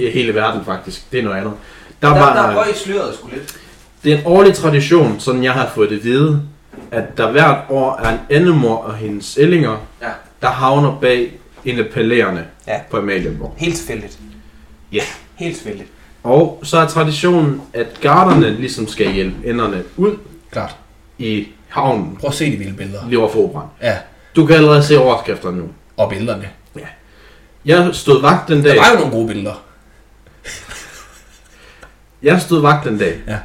B: i hele verden, faktisk. Det er noget andet. Der,
C: Der,
B: var,
C: der røg sløret sgu lidt.
B: Det er en årlig tradition, sådan jeg har fået det at vide, at der hvert år er en andemor og hendes ællinger,
C: Ja.
B: der havner bag en af palæerne
C: Ja.
B: på Amalienborg.
C: Helt tilfældigt.
B: Ja.
C: Helt tilfældigt.
B: Og så er traditionen, at garderne ligesom skal hjælpe enderne ud
A: Klart.
B: i havnen
A: Prøv at se de vilde billeder.
B: lige over for operan.
A: Ja,
B: Du kan allerede se overskrifterne nu.
A: og billederne.
B: Jeg stod vagt den dag.
A: Der var jo nogle gode billeder.
B: Jeg stod vagt den dag.
A: Ja.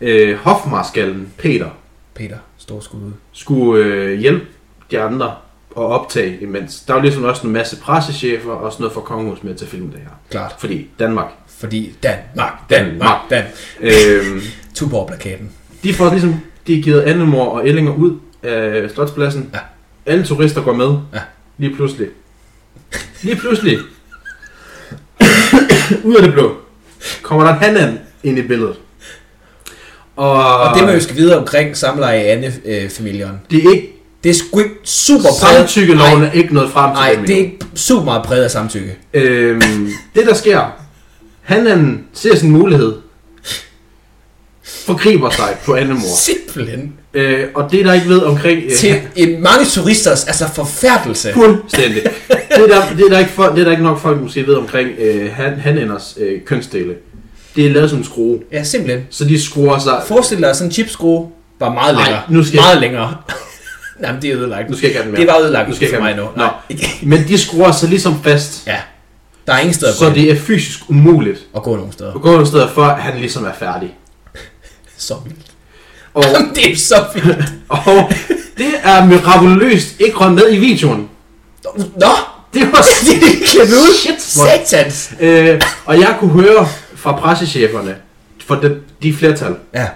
B: Øh, Hofmarskallen Peter
A: Peter, stor skud ud.
B: skulle øh, hjælpe de andre og optage imens. Der var ligesom også en masse pressechefer og sådan noget fra Kongehus med til at filme det her.
A: Klart.
B: Fordi Danmark.
A: Fordi Danmark, Danmark, Danmark.
B: Øhm,
A: Tuborg-plakaten.
B: de får ligesom, de er givet Annemor og Ellinger ud af Slotspladsen.
A: Ja.
B: Alle turister går med.
A: Ja.
B: Lige pludselig. Lige pludselig. ud af det blå. Kommer der en anden ind i billedet. Og,
A: Og det, man jo skal vide omkring samleje i Anne-familien,
B: det er ikke,
A: det er sgu ikke super præget...
B: samtykkeloven er ikke noget frem til
A: Nej,
B: dem endnu.
A: det er ikke super meget præget af samtykke.
B: Øhm, det der sker, han anden ser sin mulighed, forgriber sig på Annemor.
A: Simpelthen.
B: Øh, og det der ikke ved omkring... Øh,
A: Til en mange turisters, altså forfærdelse.
B: fuldstændig. Det der, det, der ikke for, det der ikke nok folk måske ved omkring øh, han, hanænders øh, kønsdele, det er lavet som en skrue.
A: Ja, simpelthen.
B: Så de skruer sig...
A: Forestil dig, at sådan en chipskrue var meget
B: Nej,
A: længere.
B: nu skal jeg-
A: Meget længere. Nej, men det er ødelagt.
B: Nu skal jeg ikke have den mere.
A: Det var ødelagt
B: Nu skal jeg
A: for
B: ikke
A: mig
B: have
A: nu.
B: den.
A: Nej.
B: Men de skruer sig ligesom fast,
A: Ja. Der er ingen steder at gå,
B: så det er fysisk umuligt
A: at gå nogen steder.
B: at gå nogle steder, før han ligesom er færdig.
A: Så vildt.
B: Og,
A: det er så vildt.
B: og det er mirakuløst ikke rømt med i videoen.
A: Nå,
B: Det var
A: det er klippet ud.
B: Shit, hvor-
A: Satans.
B: Øh, og jeg kunne høre fra pressecheferne, for de, de flertal,
A: Ja,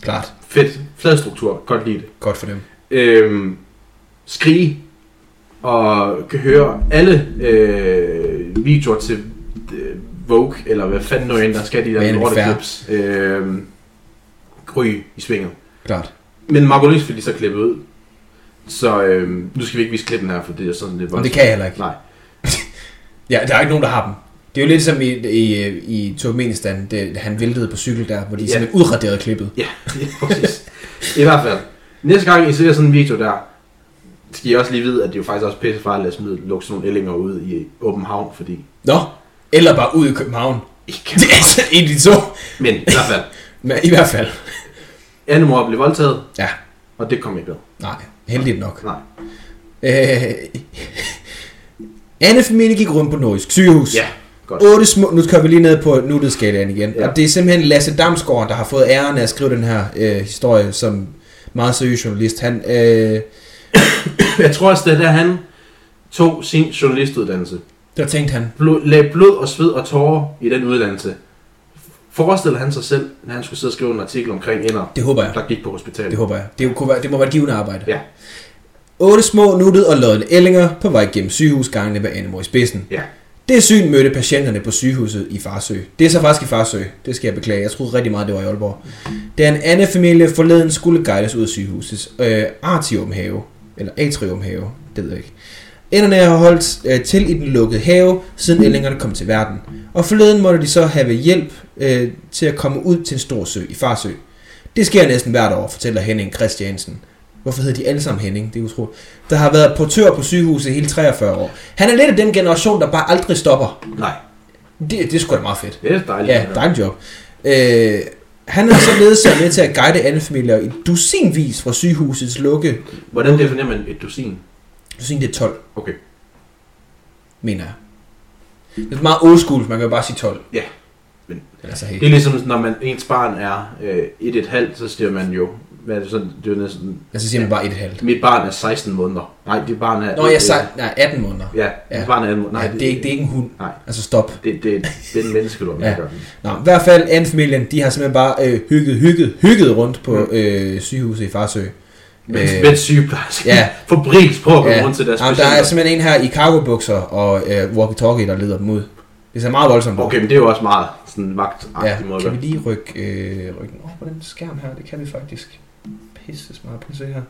A: klart.
B: fedt, flad struktur, godt lide det,
A: Godt for dem.
B: øh, skrige, og kan høre alle øh, videoer til øh, Vogue, eller hvad fanden nu end, der skal de der
A: Men fair.
B: lorteklips, øh, ryge i svinget.
A: Klart.
B: Men Margot Lys fik lige så klippet ud, så øh, nu skal vi ikke vise klippen her, for det er sådan lidt
A: Men det
B: voldsomt.
A: kan jeg heller ikke.
B: Nej.
A: Ja, der er ikke nogen, der har dem. Det er jo lidt som i, i, i Turkmenistan, det, han væltede på cykel der, hvor de
B: Ja.
A: simpelthen udraderede klippet.
B: Ja, lige præcis. I hvert fald. Næste gang I ser sådan en video der, skal I også lige vide, at det er jo faktisk også pisse farligt at smide, lukke sådan nogle ællinger ud i åben havn, fordi...
A: Nå, eller bare ud i København.
B: I kan...
A: Det er altså en af de to.
B: Men i hvert fald,
A: Men i hvert fald.
B: Annemor blev voldtaget,
A: Ja,
B: og det kom ikke ved.
A: nej, heldigt nok.
B: Nej.
A: Øh, Anne familie gik rundt på Nordisk sygehus.
B: Ja, godt.
A: Otte små, nu kører vi lige ned på nutteskalaen igen. Ja.
B: Ja.
A: Og det er simpelthen Lasse Damsgaard, der har fået æren af at skrive den her øh, historie som meget seriøs journalist. Han, øh,
B: Jeg tror også, det er der, han tog sin journalistuddannelse.
A: der tænkte han,
B: Blod, lagde blod og sved og tårer i den uddannelse. Forestillede han sig selv, at han skulle sidde og skrive en artikel omkring ender,
A: det håber jeg.
B: der gik på hospitalet.
A: Det håber jeg. Det, kunne være, det må være et givende arbejde.
B: Ja.
A: Otte små nuttede og lodne ællinger på vej gennem sygehusgangene med Annemor i spidsen.
B: Ja.
A: Det syn mødte patienterne på sygehuset i Farsø. Det er så faktisk i Farsø. Det skal jeg beklage. Jeg troede rigtig meget, det var i Aalborg. Da en anden familie forleden skulle guides ud af sygehusets øh, artiumhave, eller atriumhave, det ved jeg ikke. Enderne har holdt øh, til i den lukkede have, siden ællingerne kom til verden. Og forleden måtte de så have hjælp øh, til at komme ud til en stor sø i Farsø. Det sker næsten hvert år, fortæller Henning Christiansen. Hvorfor hedder de alle sammen Henning? Det er utroligt. Der har været portør på sygehuset i hele 43 år. Han er lidt af den generation, der bare aldrig stopper.
B: Nej.
A: Det, det er sgu da meget fedt.
B: Det er dejligt.
A: Ja, dejligt job. Øh, han har således været med til at guide alle familier i dusinvis fra sygehusets lukke.
B: Hvordan definerer man et dusin?
A: Dusin, det er 12,
B: Okay.
A: mener jeg. Det er meget old school, man kan jo bare sige 12.
B: Ja, men-
A: Altså,
B: Det
A: hey.
B: er ligesom, når man, ens barn er øh, et et halvt, så siger man jo, hvad er det, sådan, det er jo næsten,
A: altså siger man bare 1,5.
B: mit barn er 16 måneder. Nej, dit barn er...
A: Nå, jeg
B: øh,
A: sagde, nej, 18 måneder.
B: Ja, dit
A: Ja.
B: barn er 18 måneder.
A: Nej,
B: Nej,
A: ja, det, er ikke, det er ikke en hund.
B: Nej,
A: Altså stop.
B: det, det, er- det er en menneske, du har
A: Ja.
B: ja.
A: Nå, i hvert fald anden-familien, de har simpelthen bare øh, hygget, hygget, hygget rundt på mm. øh, sygehuset i Farsø.
B: Men,
A: Øh,
B: men sygeplejerske
A: ja.
B: ja. forbrils på at komme rundt til deres
A: Jamen,
B: patienter.
A: der er simpelthen en her i cargobukser og øh, walkie-talkie, der leder dem ud. Det ser meget voldsomt ud.
B: Okay, Ah, men det er jo også meget sådan
A: Ja,
B: vagtagtig ja, måde.
A: kan
B: at
A: vi
B: gøre.
A: lige rykke, øh, rykke den over på den skærm her? Det kan vi faktisk. Pisse smart på at se her.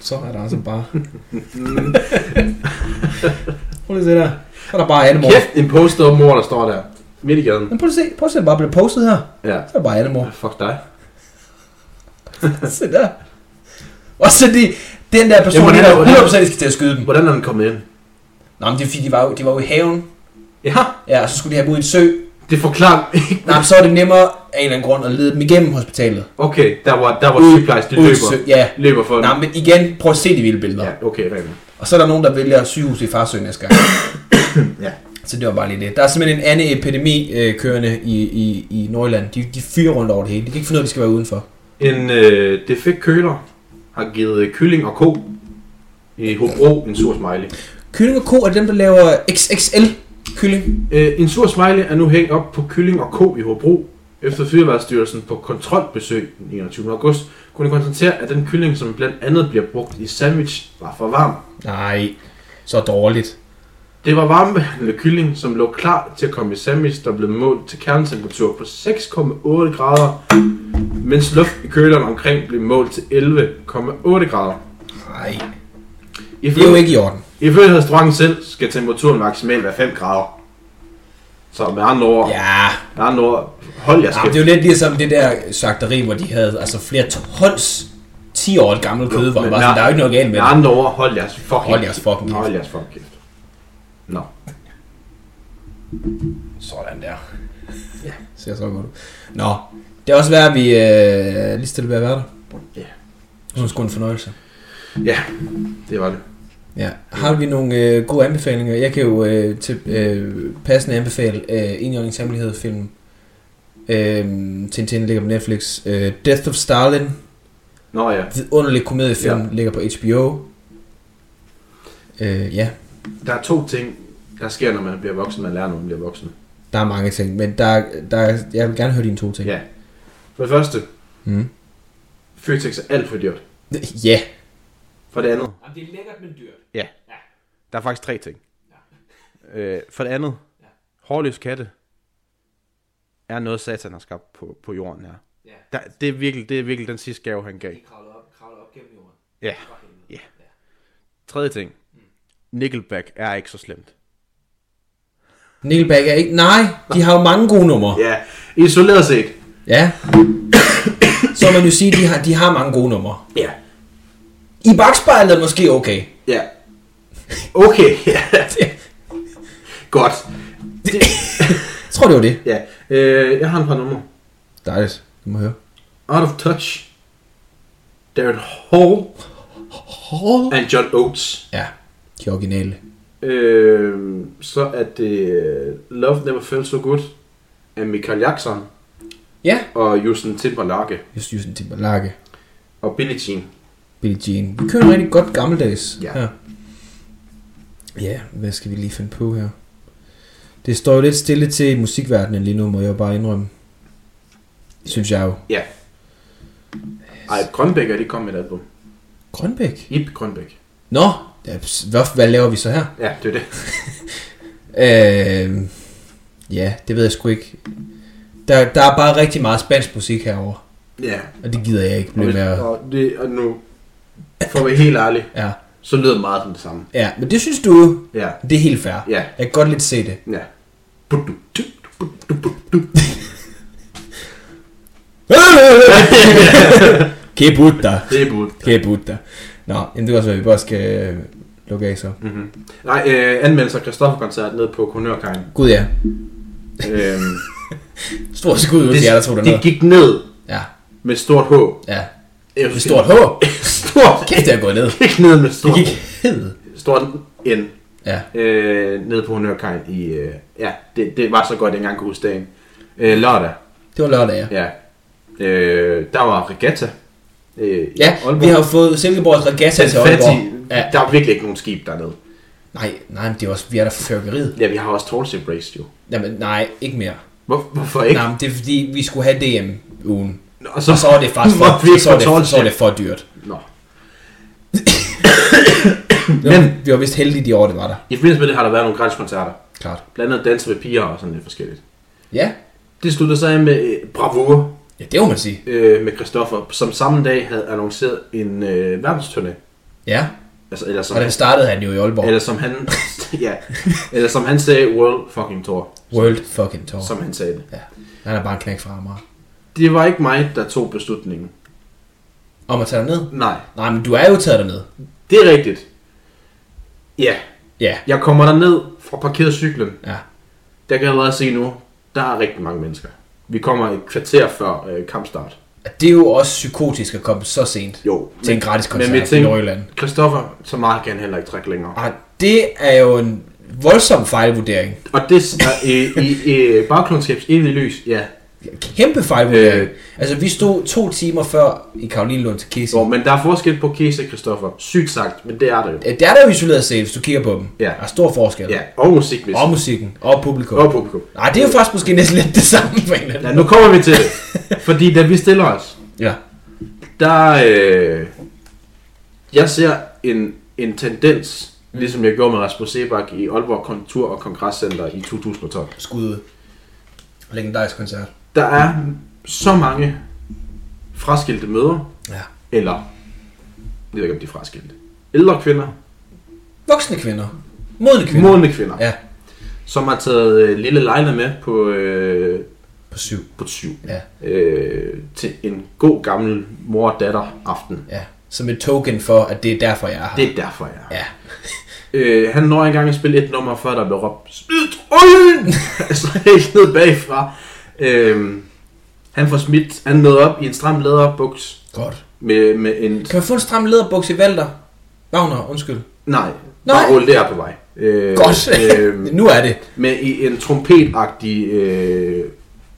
A: Så er der altså bare...
B: Mm.
A: prøv lige at se der. Så er der bare Animorph.
B: Kæft, en poster mor, der står der. Midt i gaden.
A: Men prøv at se, prøv at se, den bare bliver postet her.
B: Ja.
A: Så er der bare Animorph.
B: Fuck dig.
A: se der. Og så de, den der person,
B: Jamen,
A: Jamen,
B: han
A: der
B: er jo-
A: 100% skal til at skyde dem.
B: Hvordan er den kommet ind?
A: Nå, men det er fordi, de var, jo, de var jo i haven.
B: Ja,
A: Ja, og så skulle de have dem ud i en sø.
B: det forklarer ikke.
A: Nej, men så er det nemmere af en eller anden grund at lede dem igennem hospitalet.
B: Okay, der var, der var
A: Ud-
B: sygeplejerske, det
A: ud i
B: løber,
A: sø- Ja,
B: løber for den.
A: Nej, men igen, prøv at se de vilde billeder. Ja.
B: Ja, okay, rigtig.
A: Og så er der nogen, der vælger sygehus i Farsø næste gang.
B: Ja.
A: Så det var bare lige det. Der er simpelthen en anden epidemi øh, kørende i, i, i Nordjylland. De, de fyrer rundt over det hele. De kan ikke finde ud af, at de skal være udenfor.
B: En øh, defekt køler har givet kylling og ko i Hobro en sur smiley.
A: Kylling og ko er dem, der laver XXL kylling.
B: Øh, en sur smiley er nu hængt op på kylling og ko i Hobro. Efter Fødevarestyrelsen på kontrolbesøg den 21. august kunne de konstatere, at den kylling, som blandt andet bliver brugt i sandwich, var for varm.
A: Nej, så dårligt.
B: Det var varmebehandlet kylling, som lå klar til at komme i sandwich, der blev målt til kerntemperatur på 6,8 grader, mens luft i køleren omkring blev målt til 11,8 grader.
A: Nej, det er jo
B: Ifølge,
A: ikke i orden.
B: ifølge restauranten selv skal temperaturen maksimalt være 5 grader. Så med andre ord, ja.
A: Ja,
B: med andre ord hold jer
A: Jamen,
B: skæft.
A: det er jo lidt ligesom det der slagteri, hvor de havde altså flere tons 10 år gammelt kød, hvor
B: men
A: man var sådan,
B: nej.
A: der er jo ikke noget galt med
B: Med
A: det.
B: andre ord, hold jeres fucking
A: Hold jeres fucking kæft.
B: Hold jeres fucking kæft. Nå.
A: Sådan der. Ja, ser så godt ud. Nå, det er også værd, at vi øh, lige stille ved at være der.
B: Ja.
A: Jeg synes, det er en fornøjelse.
B: Ja, det var det.
A: Ja. Har vi nogle øh, gode anbefalinger? Jeg kan jo øh, til, øh, passende anbefale øh, Enhjørningens Hemmelighed film. Øh, Tintin ligger på Netflix. Øh, Death of Stalin,
B: Nå ja,
A: vidunderlig komediefilm, ja.
B: Ja.
A: ligger på HBO. Øh, ja,
B: der er to ting, der sker, når man bliver voksen. Man lærer, når man bliver voksen.
A: der er mange ting, men der, er- der, er- jeg vil gerne høre dine to ting.
B: Ja. For det første,
A: Mm.
B: Føtex er alt for dyrt.
A: Ja.
B: For det andet.
C: Jamen, det er lækkert, men dyrt.
B: Ja. Der er faktisk tre ting. Øh, for det andet. Hårløs katte er noget, satan har skabt på, på jorden her.
C: Ja.
B: Der, det, er virkelig, det er virkelig den sidste gave, han gav.
C: De kravler op, kravler op gennem jorden.
B: Ja.
C: For helvede.
B: Ja. Tredje ting. Nickelback er ikke så slemt.
A: Nickelback er ikke... Nej, de har jo mange gode numre.
B: Ja, isoleret set.
A: Ja. Så man jo sige, de har, de har mange gode numre.
B: Ja.
A: I bagspejlet er måske okay.
B: Ja. Okay. Godt. Det,
A: Jeg tror, det var det.
B: ja. Øh, jeg har en par numre.
A: Dejligt. Du må høre.
B: Out of Touch. Darren Hall and John Oates.
A: Ja, de originale.
B: Øh, så er det øh, Love Never Felt So Good af Michael Jackson
A: Ja.
B: og Justin Timberlake
A: Just Justin Timberlake.
B: og Billie Jean.
A: Billie Jean. Vi kører en rigtig godt gammeldags
B: Ja.
A: her. Ja, hvad skal vi lige finde på her? Det står jo lidt stille til i musikverdenen lige nu, må jeg jo bare indrømme. Synes jeg jo.
B: Ja. Ej, Grønbæk er de kommet med et album.
A: Grønbæk?
B: Ip Grønbæk.
A: Nå, ja, ps- hvad, hvad laver vi så her?
B: Ja, det er det.
A: Øh, ja, det ved jeg sgu ikke. Der, der er bare rigtig meget spansk musik herover,
B: Ja.
A: og det gider jeg ikke
B: Og,
A: blive
B: hvis,
A: med at...
B: og, det, og nu, for at være helt ærlig,
A: Ja,
B: så lyder det meget som det samme.
A: ja, men det synes du,
B: Ja.
A: det er helt fair.
B: Ja.
A: Jeg kan godt lidt se det.
B: Ja. Budu, du, du, du, du, du.
A: Que puta,
B: Det er bud.
A: que puta. Nå, jamen det kan også være, at vi bare skal øh, lukke af så.
B: Mm-hmm. Nej, øh, anmeldelse af Christoffer-koncert nede på Konørkajen.
A: Gud ja,
B: øhm,
A: stor skud ud
B: det,
A: til jer, der tog
B: det
A: dernede.
B: gik ned
A: Ja,
B: med stort H.
A: ja.
B: Jeg
A: Med
B: synes,
A: stort H.
B: stort
A: Kæft, jeg er gået ned.
B: gik ned med
A: Det
B: stort,
A: gik hed.
B: stort N
A: Ja,
B: øh, ned på Honørkajen i... Øh, ja, det, det, var så godt, jeg engang kunne huske dagen. Øh, lørdag,
A: det var lørdag, ja.
B: ja. Øh, der var regatta. Øh, i
A: Ja,
B: Aalborg.
A: vi har jo fået Silkeborgs regatta
B: Den
A: til
B: fattige,
A: Aalborg. Ja,
B: Der er virkelig ikke nogen skib dernede.
A: Nej, nej, men det er også, vi er der for fyrkeriet.
B: Ja, vi har også Tallship Race, jo.
A: Jamen, nej, ikke mere.
B: Hvor, hvorfor ikke?
A: Nej, men det er fordi, vi skulle have DM-ugen.
B: Nå,
A: Og så var det faktisk for,
B: Hvor vi ikke
A: så var
B: på
A: det, så var det
B: Tallship.
A: for dyrt.
B: Nå.
A: Men vi var vist heldige de år, det var der.
B: I forbindelse med det har der været nogle gratis koncerter.
A: klart.
B: Blandt andet danser med piger og sådan lidt forskelligt.
A: Ja,
B: Det slutter så af med øh, bravur
A: ja det må man sige.
B: øh, med Christoffer, som samme dag havde annonceret en øh, verdensturné.
A: Ja,
B: Altså, eller som,
A: og den startede han jo i Aalborg.
B: eller som han, ja, eller som han sagde, World fucking tour,
A: World fucking tour.
B: som han sagde det.
A: Ja. Han er bare en knæk fra Amager.
B: Det var ikke mig, der tog beslutningen.
A: Om at tage dig ned?
B: Nej,
A: Nej, men du er jo taget dig ned.
B: det er rigtigt. Ja,
A: Ja.
B: jeg kommer ned fra parkeret cyklen.
A: Ja.
B: Der kan jeg allerede se nu, der er rigtig mange mennesker. Vi kommer et kvarter før øh, kampstart.
A: Det er jo også psykotisk at komme så sent
B: Jo.
A: til en gratis koncert
B: men vi
A: i
B: tænker-
A: Nordjylland.
B: Christoffer, så meget kan han heller ikke trække længere.
A: Og det er jo en voldsom fejlvurdering.
B: Og det er i, i, i bagklundskabs evige lys, ja.
A: Kæmpe fejlvurdering.
B: Øh.
A: Altså, vi stod to timer før i Karoline Lund til Casey.
B: Jo, men der er forskel på Kese og Christoffer. Sygt sagt, men det er der jo.
A: Det er der jo isoleret set, hvis du kigger på dem.
B: Ja.
A: Der er stor forskel.
B: Ja, og musikvis.
A: Og musikken. Og publikum.
B: Og publikum.
A: Nej, det er jo faktisk måske næsten lidt det samme på en eller anden
B: Ja, nu kommer vi til det. Fordi da vi stiller os,
A: Ja.
B: der... Øh, jeg ser en, en tendens, ligesom jeg gjorde med Rasmus Sebak i Aalborg Kontur og Kongresscenter i 2012.
A: Skud. Legendarisk koncert.
B: Der er så mange fraskilte møder,
A: Ja.
B: eller, jeg ved ikke om de er fraskilte, ældre kvinder,
A: Voksne kvinder. Modne kvinder.
B: modne kvinder,
A: Ja.
B: som har taget øh, lille Leila med på, øh,
A: På syv.
B: på 20.
A: Ja.
B: Øh, til en god gammel mor og datter aften.
A: Ja. Som et token for, at det er derfor, jeg er her.
B: Det er derfor, jeg er.
A: Ja.
B: Øh, han når engang at spille et nummer, før der bliver råbt, Smid øjen! altså helt ned bagfra. Øh, han får smidt, han nåede op i en stram læderbuks
A: Godt.
B: med, med en
A: Kan man få en stram læderbuks i Valter? Wagner, undskyld.
B: Nej,
A: Nej.
B: Nej. bare rulle der på vej. Øh,
A: Godt.
B: øh,
A: nu er det.
B: med i en trompetagtig øh,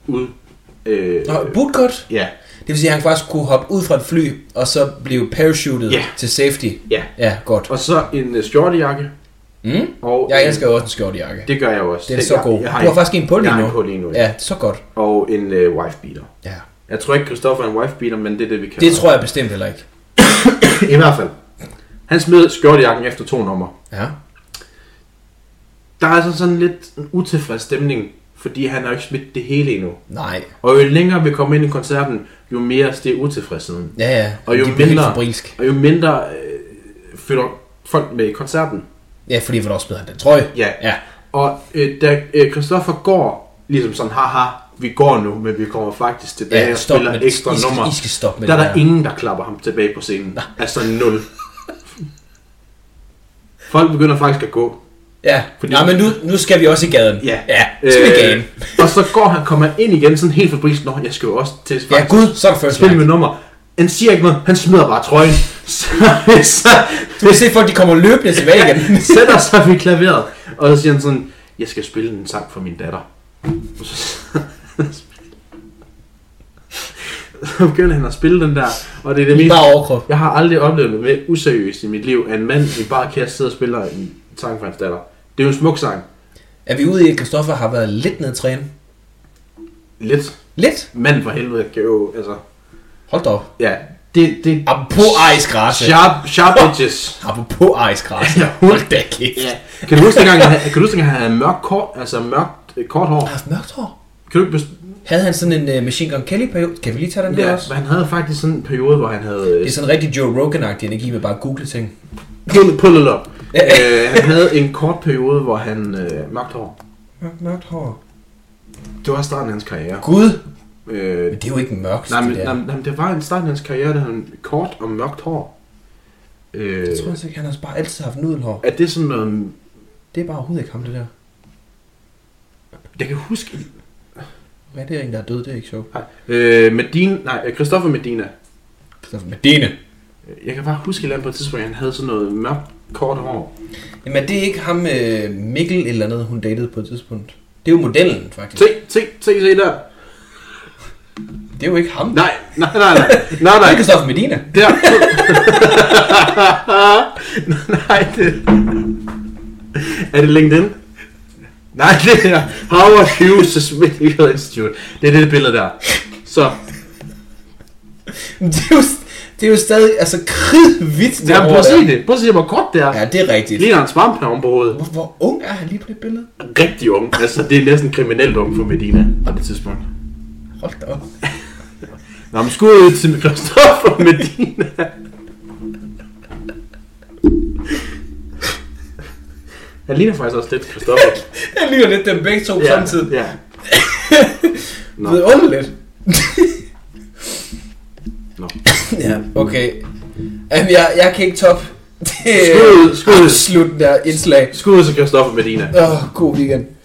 B: ud... Øh,
A: Nå, bootcut.
B: ja,
A: Det vil sige, at han faktisk kunne hoppe ud fra et fly, og så blive parachutet
B: Ja.
A: til safety.
B: ja.
A: Ja, godt.
B: Og så en øh, skjortejakke.
A: Mm?
B: Og
A: Jeg elsker jo også en skjortejakke.
B: Det gør jeg også.
A: Den er så
B: jeg,
A: god.
B: Jeg, har
A: Du har faktisk en på lige
B: Jeg
A: nu.
B: har en på lige nu, ja.
A: Ja, så godt.
B: Og en øh, wifebeater.
A: Ja.
B: Jeg tror ikke, Christoffer er en wifebeater, men det er det, vi kan.
A: Det tror jeg bestemt heller ikke.
B: I hvert fald. Han smed skjortejakken efter to numre.
A: Ja.
B: Der er altså sådan lidt en utilfreds stemning, fordi han har jo ikke smidt det hele endnu.
A: Nej.
B: Og jo længere vi kommer ind i koncerten, jo mere stiger utilfredsheden.
A: Ja, ja.
B: Og
A: de
B: jo
A: bliver helt
B: mindre-
A: fabrilsk.
B: Og jo mindre øh, følger folk med i koncerten.
A: Ja, fordi hvor også spiller han den trøje.
B: Ja.
A: Ja.
B: Og øh, da øh, Christoffer går, ligesom sådan, haha, vi går nu, men vi kommer faktisk tilbage
A: Ja,
B: og
A: stop
B: spiller
A: med det.
B: ekstra
A: I skal-
B: nummer.
A: I skal stoppe med
B: Der er
A: det
B: der
A: der.
B: ingen, der klapper ham tilbage på scenen. Nej. Altså nul. Folk begynder faktisk at gå.
A: Ja.
B: Fordi-
A: Nej, men nu, nu skal vi også i gaden.
B: Ja. Øh,
A: Ja, skal vi i gaden.
B: og så går han, kommer han ind igen, sådan helt fabrisk. Nå, jeg skal jo også til
A: Ja,
B: faktisk
A: gud, så er der first
B: spille
A: light.
B: med nummer. Han siger ikke noget, han smider bare trøjen. Så, så,
A: Du kan se, folk de kommer løbende tilbage igen.
B: sætter sig ved klaveret, og så siger han sådan, jeg skal spille en sang for min datter. Og så, så begynder han at spille den der, og det er det
A: I
B: mest...
A: bare overkrop.
B: Jeg har aldrig oplevet noget mere useriøst i mit liv, at en mand i bare kan sidde og spiller en sang for hans datter. Det er jo en smuk sang.
A: Er vi ude i, at Christoffer har været lidt nedtrænet?
B: Lidt.
A: Lidt?
B: Mand for helvede kan jo, altså...
A: Hold da op.
B: Ja, det... det
A: Apropos ejsgræsse.
B: sharp, sharp edges.
A: Apropos ejsgræsse. Hold da kæft.
B: Ja. Kan du huske dengang, kan du huske, at han havde mørkt kort, altså mørkt øh, kort hår?
A: Har haft mørkt hår?
B: Kan du ikke best-
A: Havde han sådan en uh, Machine Gun Kelly periode? Kan vi lige tage den der
B: Ja,
A: også?
B: men han havde faktisk sådan en periode, hvor han havde...
A: Det
B: øh,
A: er sådan rigtig Joe Rogan-agtig energi med bare at google ting.
B: Pull, pull it up.
A: Ja.
B: øh, han havde en kort periode, hvor han øh, mørkt hår.
A: Mørkt, mørkt hår.
B: Det var starten af hans karriere.
A: Gud,
B: Øh,
A: men det er jo ikke mørkt,
B: nej, men,
A: det der.
B: nej, men- nej, men det var en start af hans karriere, der havde han kort og mørkt hår. Øh,
A: Jeg tror altså ikke, han har bare altid haft nudelhår.
B: er det sådan noget...
A: Det er bare overhovedet ikke ham, det der.
B: Jeg kan huske...
A: Hvad er det en, der er død? Det er ikke sjovt.
B: Nej, øh, Medina, nej, Christoffer Medina.
A: Christoffer Medine.
B: Jeg kan bare huske et eller andet på et tidspunkt, at han havde sådan noget mørkt kort hår.
A: Jamen, er det ikke ham øh, Mikkel et eller andet, hun datede på et tidspunkt? Det er jo modellen, faktisk.
B: Se, se, se, se der.
A: Det er jo ikke ham.
B: Nej, nej, nej, nej, nej,
A: Det
B: nej.
A: er Christoffer Medina.
B: Der. nej, det... Er det LinkedIn? Nej, det er Howard Hughes Smith Institute. Det er det billede der. Så,
A: Men Det er jo, s- Det er jo stadig, altså kridhvidt.
B: Ja, prøv at se det. Prøv at se, hvor kort det er.
A: Ja, det er rigtigt.
B: Ligner en svampnavn på hovedet.
A: Hvor, hvor ung er han lige på det billede?
B: Rigtig ung. Altså, det er næsten kriminelt ung for Medina på det tidspunkt.
A: Hold da op.
B: Nå, men skud ud til Christoffer Medina. Han ligner faktisk også lidt Christoffer.
A: Jeg ligner lidt dem begge to ja. samtidig.
B: Ja. Nå.
A: Det er underligt.
B: Nå.
A: Ja, okay. Jamen, jeg, jeg kan ikke top. Det
B: Skud,
A: er
B: skud.
A: absolut der indslag.
B: Skud ud til Christoffer Medina.
A: Åh, oh, god weekend.